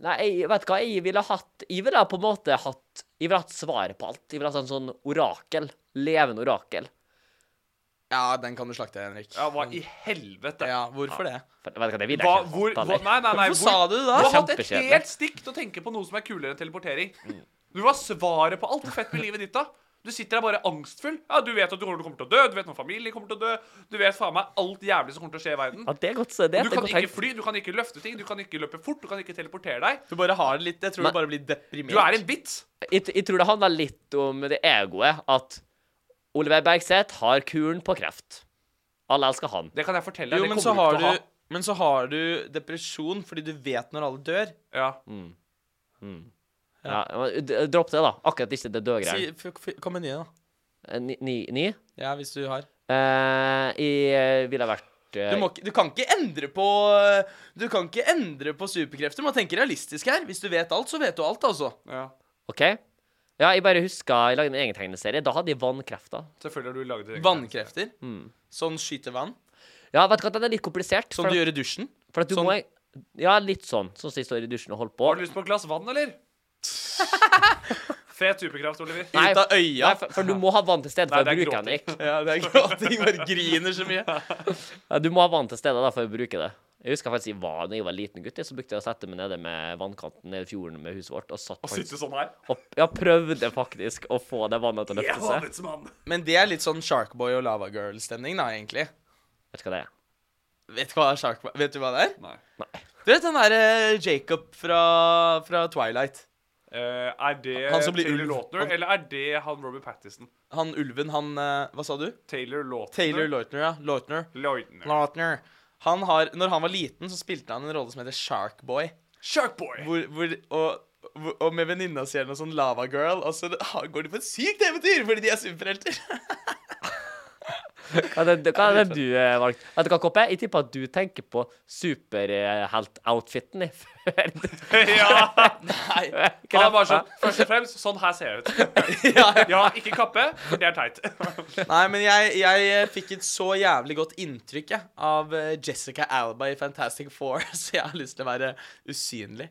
[SPEAKER 2] Nei, jeg vet hva jeg ville hatt Jeg ville på en måte hatt Jeg ville hatt svaret på alt. Jeg ville hatt en sånn orakel. Levende orakel.
[SPEAKER 1] Ja, den kan du slakte, Henrik.
[SPEAKER 5] Ja, hva i helvete?
[SPEAKER 1] Ja, hvorfor det?
[SPEAKER 2] For- Vet du hva det vil jeg
[SPEAKER 5] Hva,
[SPEAKER 2] ikke
[SPEAKER 5] hvor,
[SPEAKER 2] hatt,
[SPEAKER 5] hva,
[SPEAKER 2] eller?
[SPEAKER 5] nei, nei, nei.
[SPEAKER 1] Hvorfor sa du det da?
[SPEAKER 5] Du har hatt et
[SPEAKER 2] Kjempekjedelig.
[SPEAKER 5] helt stikk til å tenke på noe som er kulere enn teleportering. Du har svaret på alt fett med livet ditt, da. Du sitter der bare angstfull. Ja, Du vet at du kommer du kommer til å dø, du vet når familien kommer til å dø, du vet faen meg alt jævlig som kommer til å skje i verden.
[SPEAKER 2] Ja, det er godt så det, det er
[SPEAKER 5] Du kan
[SPEAKER 2] godt
[SPEAKER 5] ikke
[SPEAKER 2] tenkt.
[SPEAKER 5] fly, du kan ikke løfte ting, du kan ikke løpe fort, du kan ikke teleportere deg.
[SPEAKER 1] Du bare har det litt Jeg tror
[SPEAKER 2] Men-
[SPEAKER 1] du bare blir deprimert.
[SPEAKER 5] Du er en vits.
[SPEAKER 2] jeg, jeg tror det handler litt om det egoet at Oliver Bergseth har kuren på kreft. Alle elsker han.
[SPEAKER 5] Det kan jeg fortelle deg.
[SPEAKER 1] Jo,
[SPEAKER 5] det
[SPEAKER 1] men så,
[SPEAKER 5] kommer
[SPEAKER 1] har
[SPEAKER 5] du
[SPEAKER 1] du,
[SPEAKER 5] til å ha.
[SPEAKER 1] men så har du depresjon fordi du vet når alle dør.
[SPEAKER 5] Ja.
[SPEAKER 2] Ja. men d- Dropp det, da. Akkurat ikke det
[SPEAKER 1] Si,
[SPEAKER 2] dødgreiene.
[SPEAKER 1] f f kom med nye, da.
[SPEAKER 2] Eh, Ni? ni, ni.
[SPEAKER 1] Ja, hvis du har.
[SPEAKER 2] Eh, jeg eh, ville vært eh,
[SPEAKER 1] Du, må, ikke- du kan ikke endre på eh, Du kan ikke endre på superkrefter. Du må tenke realistisk her. Hvis du vet alt, så vet du alt, altså.
[SPEAKER 5] ja.
[SPEAKER 2] OK? Ja, jeg bare huska jeg lagde en egen tegneserie. Da hadde jeg vannkrefter.
[SPEAKER 5] Selvfølgelig har du laget det.
[SPEAKER 1] Vannkrefter. Sånn skyte vann.
[SPEAKER 2] Ja, vet du hva, den er litt komplisert.
[SPEAKER 1] Som
[SPEAKER 2] for,
[SPEAKER 1] du gjør i dusjen.
[SPEAKER 2] for at du
[SPEAKER 1] sånn-
[SPEAKER 2] må Ja, litt sånn. Sånn som jeg står i dusjen og holder på.
[SPEAKER 1] <laughs>
[SPEAKER 5] Har du lyst på et glass vann, eller? Fet superkraft, Oliver.
[SPEAKER 2] Nei, nei, for, for du må ha vann til stede for
[SPEAKER 5] Nei,
[SPEAKER 2] å
[SPEAKER 5] det er
[SPEAKER 2] bruke den,
[SPEAKER 5] gråting.
[SPEAKER 2] Nick.
[SPEAKER 1] Ja, det er gråting. Bare griner så mye.
[SPEAKER 2] <laughs> Ja, Du må ha vann til stede da, for å bruke det. Jeg husker faktisk jeg var, da jeg var liten gutt, jeg, så brukte jeg å sette meg nede med vannkanten nede i fjorden med huset vårt og satt
[SPEAKER 5] Å sitte sånn her.
[SPEAKER 2] og ja, prøvde faktisk å få det vannet til å
[SPEAKER 5] Jeg er
[SPEAKER 2] løfte seg.
[SPEAKER 5] havets mann.
[SPEAKER 1] Men det er litt sånn Sharkboy og Lava Girl-stemning, da, egentlig.
[SPEAKER 2] Vet du hva det er?
[SPEAKER 1] Vet du hva, Sharkboy, vet du hva det er?
[SPEAKER 5] Nei.
[SPEAKER 1] Du vet den derre Jacob fra, fra Twilight?
[SPEAKER 5] Eh, er det
[SPEAKER 1] Han som blir
[SPEAKER 5] Taylor
[SPEAKER 1] ulv.
[SPEAKER 5] Lautner,
[SPEAKER 1] Han-
[SPEAKER 5] eller er det han Robert Pattinson?
[SPEAKER 1] Han ulven, han eh, Hva sa du?
[SPEAKER 5] Taylor Lautner.
[SPEAKER 1] Taylor Lautner, ja. Lautner.
[SPEAKER 5] Lautner.
[SPEAKER 1] Lautner. Han har, når han var liten, så spilte han en rolle som heter Sharkboy.
[SPEAKER 5] Sharkboy!
[SPEAKER 1] Hvor, hvor, og, hvor- og med venninna si eller noe sånn Lava Girl, og så ha- går de på et sykt eventyr fordi de er
[SPEAKER 2] <laughs>
[SPEAKER 1] superhelter.
[SPEAKER 2] Hva er det, hva er det du eh, valgte? Vet du hva, Koppe? Jeg tipper at du tenker på superhelt-outfiten i <laughs> før.
[SPEAKER 5] <laughs>
[SPEAKER 2] <laughs>
[SPEAKER 5] ja!
[SPEAKER 1] <laughs> Nei.
[SPEAKER 5] Han er bare sånn, først og fremst, sånn her ser jeg ut.
[SPEAKER 1] <laughs> Ja, ja.
[SPEAKER 5] Ja, ikke kappe, for det er
[SPEAKER 1] <laughs>
[SPEAKER 5] teit.
[SPEAKER 1] Nei, men jeg, jeg eh, fikk et så jævlig godt inntrykk jeg, av eh, Jessica Alba i Fantastic Four, <laughs> så jeg har lyst til å være usynlig.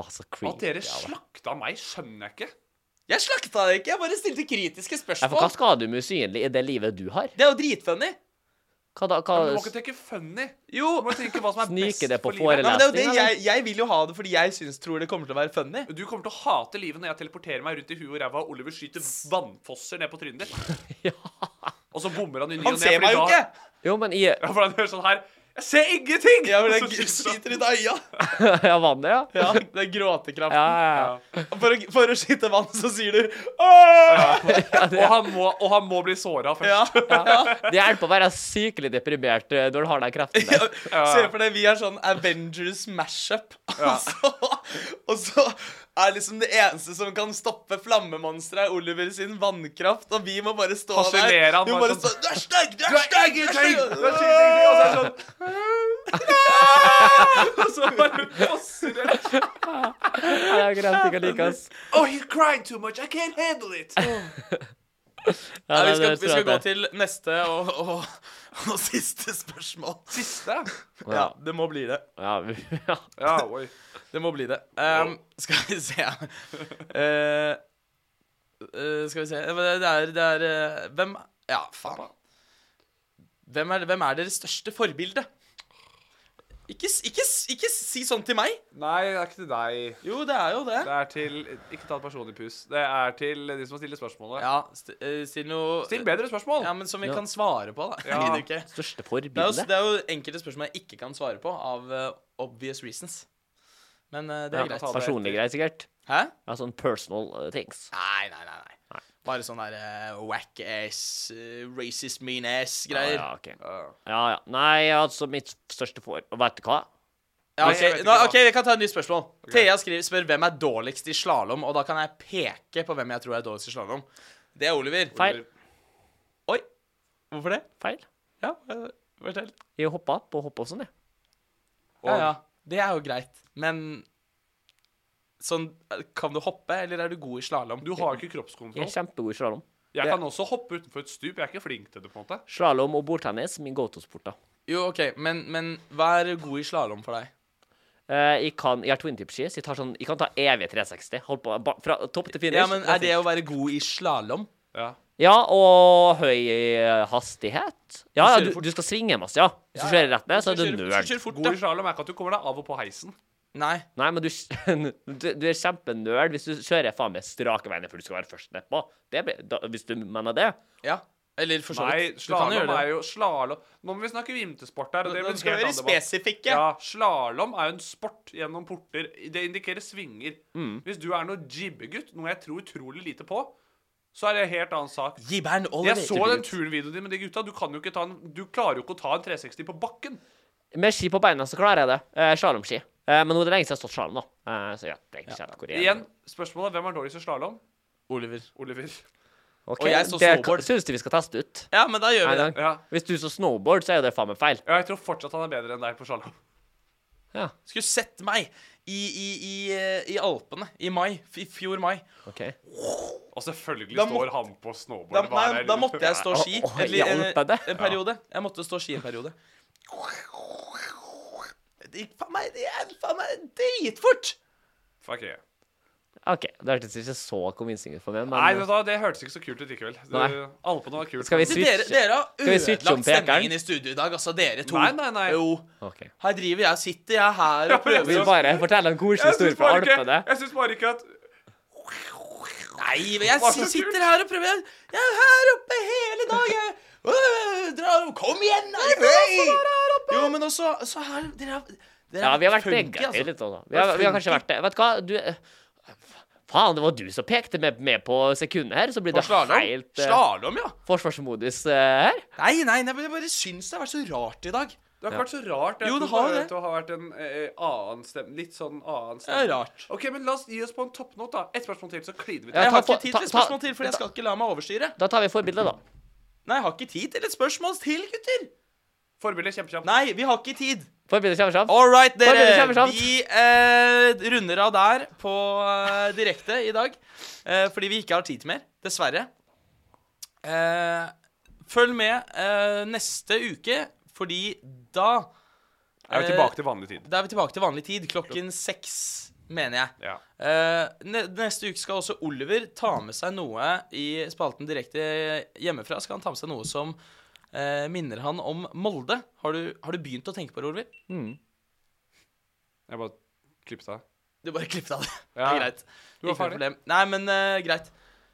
[SPEAKER 2] Å, så
[SPEAKER 5] At dere
[SPEAKER 2] creepy. Ja,
[SPEAKER 5] slakta meg, skjønner jeg ikke.
[SPEAKER 1] Jeg slakta det ikke, jeg bare stilte kritiske
[SPEAKER 2] for hva
[SPEAKER 1] spørsmål.
[SPEAKER 2] skal du med usynlig i det livet du har?
[SPEAKER 1] Det er jo dritfunny.
[SPEAKER 2] Hva da?
[SPEAKER 5] Du må
[SPEAKER 2] Hva,
[SPEAKER 5] ikke tenke funny.
[SPEAKER 1] Jo.
[SPEAKER 5] Du må tenke hva som er
[SPEAKER 2] Snike
[SPEAKER 5] best
[SPEAKER 2] det på
[SPEAKER 5] for livet.
[SPEAKER 1] Ja, men det er jo det
[SPEAKER 2] Lesning,
[SPEAKER 1] jeg, jeg vil jo ha det fordi jeg syns tror det kommer til å være funny.
[SPEAKER 5] Du kommer til å hate livet når jeg teleporterer meg rundt i huet og ræva, og Oliver skyter vannfosser ned på trynet ditt.
[SPEAKER 1] <laughs>
[SPEAKER 5] Og så bommer han i ny og
[SPEAKER 1] Han
[SPEAKER 5] ne,
[SPEAKER 1] ser
[SPEAKER 5] fordi
[SPEAKER 1] meg jo
[SPEAKER 5] da-
[SPEAKER 1] ikke!
[SPEAKER 2] jo, men i <laughs>
[SPEAKER 5] Ja, <laughs> for han gjør sånn her Jeg ser ingenting!
[SPEAKER 1] Ja, men
[SPEAKER 5] Og så sånn.
[SPEAKER 1] jeg skyter ut av øya.
[SPEAKER 2] Ja, vannet, ja?
[SPEAKER 1] Ja, det er gråtekraften.
[SPEAKER 2] Ja, ja,
[SPEAKER 1] For, å, for å skyte vann, så sier du Åh!
[SPEAKER 5] Og han må, og han må bli
[SPEAKER 1] Ja.
[SPEAKER 5] såra <laughs> først.
[SPEAKER 2] ja. Det hjelper å være sykelig deprimert eh, når du har de kreftene.
[SPEAKER 1] Ja, Se for deg vi er sånn Avengers mashup. Og, så, <laughs> og så er liksom det eneste som kan stoppe flammemonsteret, er Oliver sin vannkraft, og vi må bare stå
[SPEAKER 5] Fascinere han
[SPEAKER 1] der. Vi må
[SPEAKER 5] bare
[SPEAKER 1] bare
[SPEAKER 5] sånn.
[SPEAKER 1] stå Du er stygg! Du
[SPEAKER 5] Du
[SPEAKER 1] er
[SPEAKER 5] er
[SPEAKER 1] stygg! Du er
[SPEAKER 5] ingenting!
[SPEAKER 1] stygg!
[SPEAKER 5] Du er ingenting! Og så er det sånn Og så bare fosser det.
[SPEAKER 2] Ja, det er greit, ikke like, ass.
[SPEAKER 5] Oh, he cried too much. I can't handle it.
[SPEAKER 2] Ja,
[SPEAKER 1] Nei, vi
[SPEAKER 2] det-
[SPEAKER 1] skal,
[SPEAKER 2] det
[SPEAKER 1] vi
[SPEAKER 2] tror
[SPEAKER 1] skal
[SPEAKER 2] jeg
[SPEAKER 1] gå
[SPEAKER 2] at det-
[SPEAKER 1] til neste og, og, og siste spørsmål.
[SPEAKER 5] Siste?
[SPEAKER 1] Ja, det må bli det.
[SPEAKER 2] Ja, vi- <laughs> ja.
[SPEAKER 5] Ja, oi.
[SPEAKER 1] Det må bli det. Ehm, skal vi se Eh, eh, Skal vi se Eh, Det er, det er eh, Hvem Ja, faen. Hvem er, hvem er deres største forbilde? Ikke, s- ikke, s- ikke si sånn til meg.
[SPEAKER 5] Nei, det er ikke til deg.
[SPEAKER 1] Jo, det er jo det.
[SPEAKER 5] Det er til Ikke ta det personlig, pus. Det er til de som har stilt spørsmålet.
[SPEAKER 1] Ja, st eh, still noe
[SPEAKER 5] Still bedre spørsmål.
[SPEAKER 1] Ja, men som vi kan svare på, da.
[SPEAKER 5] Ja.
[SPEAKER 1] Gidder ikke.
[SPEAKER 2] Største
[SPEAKER 1] Det er, jo,
[SPEAKER 2] forbilde?
[SPEAKER 1] det er jo enkelte spørsmål jeg ikke kan svare på, av <laughs> eh, obvious reasons. Men eh, det
[SPEAKER 2] Ja,
[SPEAKER 1] er greit.
[SPEAKER 2] personlige greier, sikkert.
[SPEAKER 1] Hæ?
[SPEAKER 2] Ja, sånn personal eh, things.
[SPEAKER 1] Nei, nei, nei. nei. Bare sånn der eh, whack ass, eh, racist mean ass-greier.
[SPEAKER 2] Ja, ja, ok. ja, ja. Nei, altså, mitt største for... Og Vet du hva?
[SPEAKER 1] Ja,
[SPEAKER 5] Nei, jeg
[SPEAKER 1] ok, Nå,
[SPEAKER 5] vet ikke hva.
[SPEAKER 1] ok, Jeg kan ta et nytt spørsmål. Thea skriver, spør hvem er dårligst i slalåm, og da kan jeg peke på hvem jeg tror er dårligst i slalåm. Det er Oliver.
[SPEAKER 2] Feil.
[SPEAKER 1] Oi. Hvorfor det?
[SPEAKER 2] Feil.
[SPEAKER 1] Ja, eh, fortell.
[SPEAKER 2] Jeg hoppa opp og hoppa sånn, jeg.
[SPEAKER 1] Ja, ja. Det er jo greit, men Sånn, eh, kan du hoppe, eller er du god i slalåm?
[SPEAKER 5] Du har jo ikke kroppskontroll.
[SPEAKER 2] Jeg er kjempegod i slalåm.
[SPEAKER 5] Jeg kan også hoppe utenfor et stup. Jeg er ikke flink til det. på en måte
[SPEAKER 2] Slalåm og bordtennis, min go-to-sport, da.
[SPEAKER 1] Jo, OK, men, men hva er god i slalåm for deg?
[SPEAKER 2] Eh, jeg, kan, jeg har twin tip ski, så jeg, tar sånn, jeg kan ta evig 360. Hold på, ba, fra topp til finish.
[SPEAKER 1] Ja, men Er
[SPEAKER 2] That's
[SPEAKER 1] det
[SPEAKER 2] it.
[SPEAKER 1] å være god i slalåm?
[SPEAKER 5] Ja
[SPEAKER 2] Ja, og høy eh, hastighet. Ja,
[SPEAKER 1] Du
[SPEAKER 2] ja,
[SPEAKER 1] kjører
[SPEAKER 2] du,
[SPEAKER 1] fort.
[SPEAKER 2] du skal svinge masse, ja. Hvis du kjører rett ned, så er du
[SPEAKER 1] Hvis du
[SPEAKER 2] nerd.
[SPEAKER 1] kjører fort,
[SPEAKER 5] God i
[SPEAKER 1] da.
[SPEAKER 5] slalåm er ikke at du kommer deg av og på heisen.
[SPEAKER 1] Nei.
[SPEAKER 2] Nei, men du, <laughs> du, du er kjempenerd hvis du kjører faen meg strake veien, for du skal være først nedpå. Det blir- da- Hvis du mener det.
[SPEAKER 1] Ja. Eller for så
[SPEAKER 5] Nei,
[SPEAKER 1] vidt. Du kan jo
[SPEAKER 5] slalåm
[SPEAKER 1] gjøre det.
[SPEAKER 5] er jo slalåm Nå må vi snakke vintersport her. Og det
[SPEAKER 1] Nå- nå
[SPEAKER 5] blir en
[SPEAKER 1] skal vi
[SPEAKER 5] helt
[SPEAKER 1] være
[SPEAKER 5] annen debatt.
[SPEAKER 1] spesifikke.
[SPEAKER 5] Ja, Slalåm er jo en sport gjennom porter. Det indikerer svinger.
[SPEAKER 1] Mm.
[SPEAKER 5] Hvis du er noe jibbegutt, noe jeg tror utrolig lite på, så er det en helt annen sak.
[SPEAKER 1] Gibberen Oliver.
[SPEAKER 5] Jeg så den turnvideoen din med de gutta. Du, kan jo ikke ta en, du klarer jo ikke å ta en 360 på bakken.
[SPEAKER 2] Med ski på beina så klarer jeg det. Eh, slalåmski. Eh, men nå er det lenge siden jeg har stått slalåm, da. Eh, så ja, det er ikke kjent hvor jeg er.
[SPEAKER 5] Igjen, spørsmålet hvem er dårligst i slalåm?
[SPEAKER 1] Oliver.
[SPEAKER 5] Oliver.
[SPEAKER 2] Ok,
[SPEAKER 1] Og jeg så
[SPEAKER 2] det
[SPEAKER 1] snowboard.
[SPEAKER 2] Syns du vi skal teste ut?
[SPEAKER 1] Ja, men da gjør
[SPEAKER 2] Nei,
[SPEAKER 1] vi det.
[SPEAKER 2] da- Hvis du så snowboard, så er jo det faen meg feil.
[SPEAKER 5] Ja, jeg tror fortsatt han er bedre enn deg på slalåm.
[SPEAKER 2] Ja,
[SPEAKER 1] Skulle sett meg i, i, i, eh, i Alpene i mai. f- I fjor mai.
[SPEAKER 2] OK.
[SPEAKER 5] Og selvfølgelig
[SPEAKER 1] Da
[SPEAKER 5] står
[SPEAKER 1] måtte-
[SPEAKER 5] han på
[SPEAKER 1] Da,
[SPEAKER 5] snowboard. Hva er
[SPEAKER 1] nei,
[SPEAKER 5] det?
[SPEAKER 1] da måtte jeg stå ski.
[SPEAKER 2] Å, å,
[SPEAKER 1] eller en,
[SPEAKER 2] hjalp deg.
[SPEAKER 1] en periode. Jeg måtte stå ski en periode. Det gikk faen meg, det gikk faen meg dritfort!
[SPEAKER 5] Fuck yeah.
[SPEAKER 1] OK. Det hørtes ikke så convincing ut for meg, men
[SPEAKER 5] Nei, vet du hva, det hørtes ikke så kult ut likevel. Det,
[SPEAKER 1] Nei.
[SPEAKER 5] alle på noe var kult.
[SPEAKER 1] Skal vi
[SPEAKER 5] men-
[SPEAKER 1] switche?
[SPEAKER 2] Dere, dere
[SPEAKER 1] Skal vi
[SPEAKER 2] har
[SPEAKER 1] switche om
[SPEAKER 2] ødelagt stemningen
[SPEAKER 1] pekeren?
[SPEAKER 2] i studio i dag, altså dere to.
[SPEAKER 5] Nei, nei, nei.
[SPEAKER 2] Jo.
[SPEAKER 1] Ok.
[SPEAKER 2] Her driver jeg og sitter jeg her <laughs> og
[SPEAKER 1] Vi
[SPEAKER 2] prøver å
[SPEAKER 1] bare fortelle en koselig
[SPEAKER 5] Jeg
[SPEAKER 1] historie
[SPEAKER 5] syns
[SPEAKER 1] fra
[SPEAKER 5] bare,
[SPEAKER 1] alpene.
[SPEAKER 5] ikke- jeg synes bare ikke at
[SPEAKER 2] Nei, men jeg
[SPEAKER 5] Hva
[SPEAKER 2] si-
[SPEAKER 5] slags kult?
[SPEAKER 2] sitter her og prøver Jeg, jeg er her oppe hele dagen! Øh, Dra, kom igjen! da, hei! Jo, men også så her, dere, er- dere
[SPEAKER 1] Ja, vi har vært
[SPEAKER 2] funky,
[SPEAKER 1] negative
[SPEAKER 2] altså.
[SPEAKER 1] litt også. Vi har, vi har kanskje vært det. Vet du hva, du eh, Faen, det var du som pekte meg med på sekundet her, så blir det
[SPEAKER 2] For slalom?
[SPEAKER 1] helt eh,
[SPEAKER 2] Slalom, ja.
[SPEAKER 1] forsvarsmodus eh, her.
[SPEAKER 2] Nei, nei, nei, men jeg bare syns det har vært så rart i dag.
[SPEAKER 5] Det har ikke vært så rart. Jeg
[SPEAKER 2] Jo, det
[SPEAKER 5] tror
[SPEAKER 2] har
[SPEAKER 5] bare
[SPEAKER 2] det.
[SPEAKER 5] at Det har vært en eh, annen stem, litt sånn annen
[SPEAKER 2] Det er
[SPEAKER 5] stemning.
[SPEAKER 2] rart.
[SPEAKER 5] OK, men la oss gi oss på en toppnot, da. Ett spørsmål til, så kliner vi
[SPEAKER 2] Jeg
[SPEAKER 5] til.
[SPEAKER 1] ta
[SPEAKER 2] har ikke
[SPEAKER 1] på-
[SPEAKER 2] tid
[SPEAKER 1] ta-
[SPEAKER 2] til et
[SPEAKER 1] ta-
[SPEAKER 2] spørsmål til, for jeg skal ikke la meg overstyre.
[SPEAKER 1] Da tar vi forbildet, da.
[SPEAKER 2] Nei, jeg har ikke tid til et spørsmål til, gutter.
[SPEAKER 5] Forbildet kjempekjapt.
[SPEAKER 2] Nei, vi har ikke tid.
[SPEAKER 1] Forbildet kommer fram.
[SPEAKER 2] All right,
[SPEAKER 1] Forbildet
[SPEAKER 2] dere.
[SPEAKER 1] kommer fram.
[SPEAKER 2] Vi eh, runder av der på eh, direkte i dag. Eh, fordi vi ikke har tid til mer. Dessverre. Eh, følg med eh, neste uke, fordi da
[SPEAKER 5] Er vi tilbake til vanlig tid?
[SPEAKER 2] Da Eh, er vi tilbake til vanlig tid. Klokken seks, mener jeg.
[SPEAKER 5] Ja.
[SPEAKER 2] Eh, ne neste uke skal også Oliver ta med seg noe i spalten direkte hjemmefra. Skal han ta med seg noe som eh, minner han om Molde? Har du, har du begynt å tenke på det, Oliver?
[SPEAKER 5] Jeg bare klippet av.
[SPEAKER 2] Du bare klippet av det.
[SPEAKER 5] Ja.
[SPEAKER 2] Det er greit.
[SPEAKER 5] Du
[SPEAKER 2] Ikke
[SPEAKER 5] var
[SPEAKER 2] noe
[SPEAKER 5] ferdig.
[SPEAKER 2] problem. Nei, men eh, greit.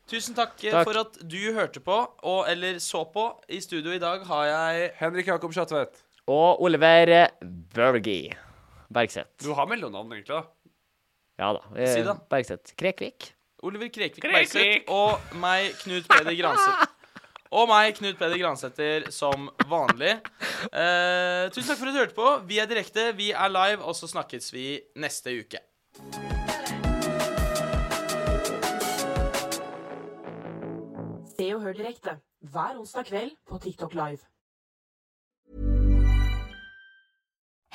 [SPEAKER 2] Tusen takk, eh,
[SPEAKER 1] Takk.
[SPEAKER 2] for at du hørte på, og, eller så på. I studio i dag har jeg
[SPEAKER 5] Henrik Jakob Schatvedt.
[SPEAKER 1] Og Oliver Bergi. Bergseth.
[SPEAKER 5] Du har mellomnavn, egentlig, da.
[SPEAKER 1] Ja da. eh,
[SPEAKER 2] Si det, da.
[SPEAKER 1] Bergseth. Krekvik.
[SPEAKER 2] Oliver Krekvik
[SPEAKER 5] Krekvik!
[SPEAKER 2] Bergseth og meg, Knut Peder
[SPEAKER 1] <laughs>
[SPEAKER 2] Granseth. Og meg, Knut Peder Gransæter, som vanlig. Eh, tusen takk for at du hørte på. Vi er direkte, vi er live, og så snakkes vi neste uke.
[SPEAKER 3] Se og hør direkte hver onsdag kveld på TikTok Live.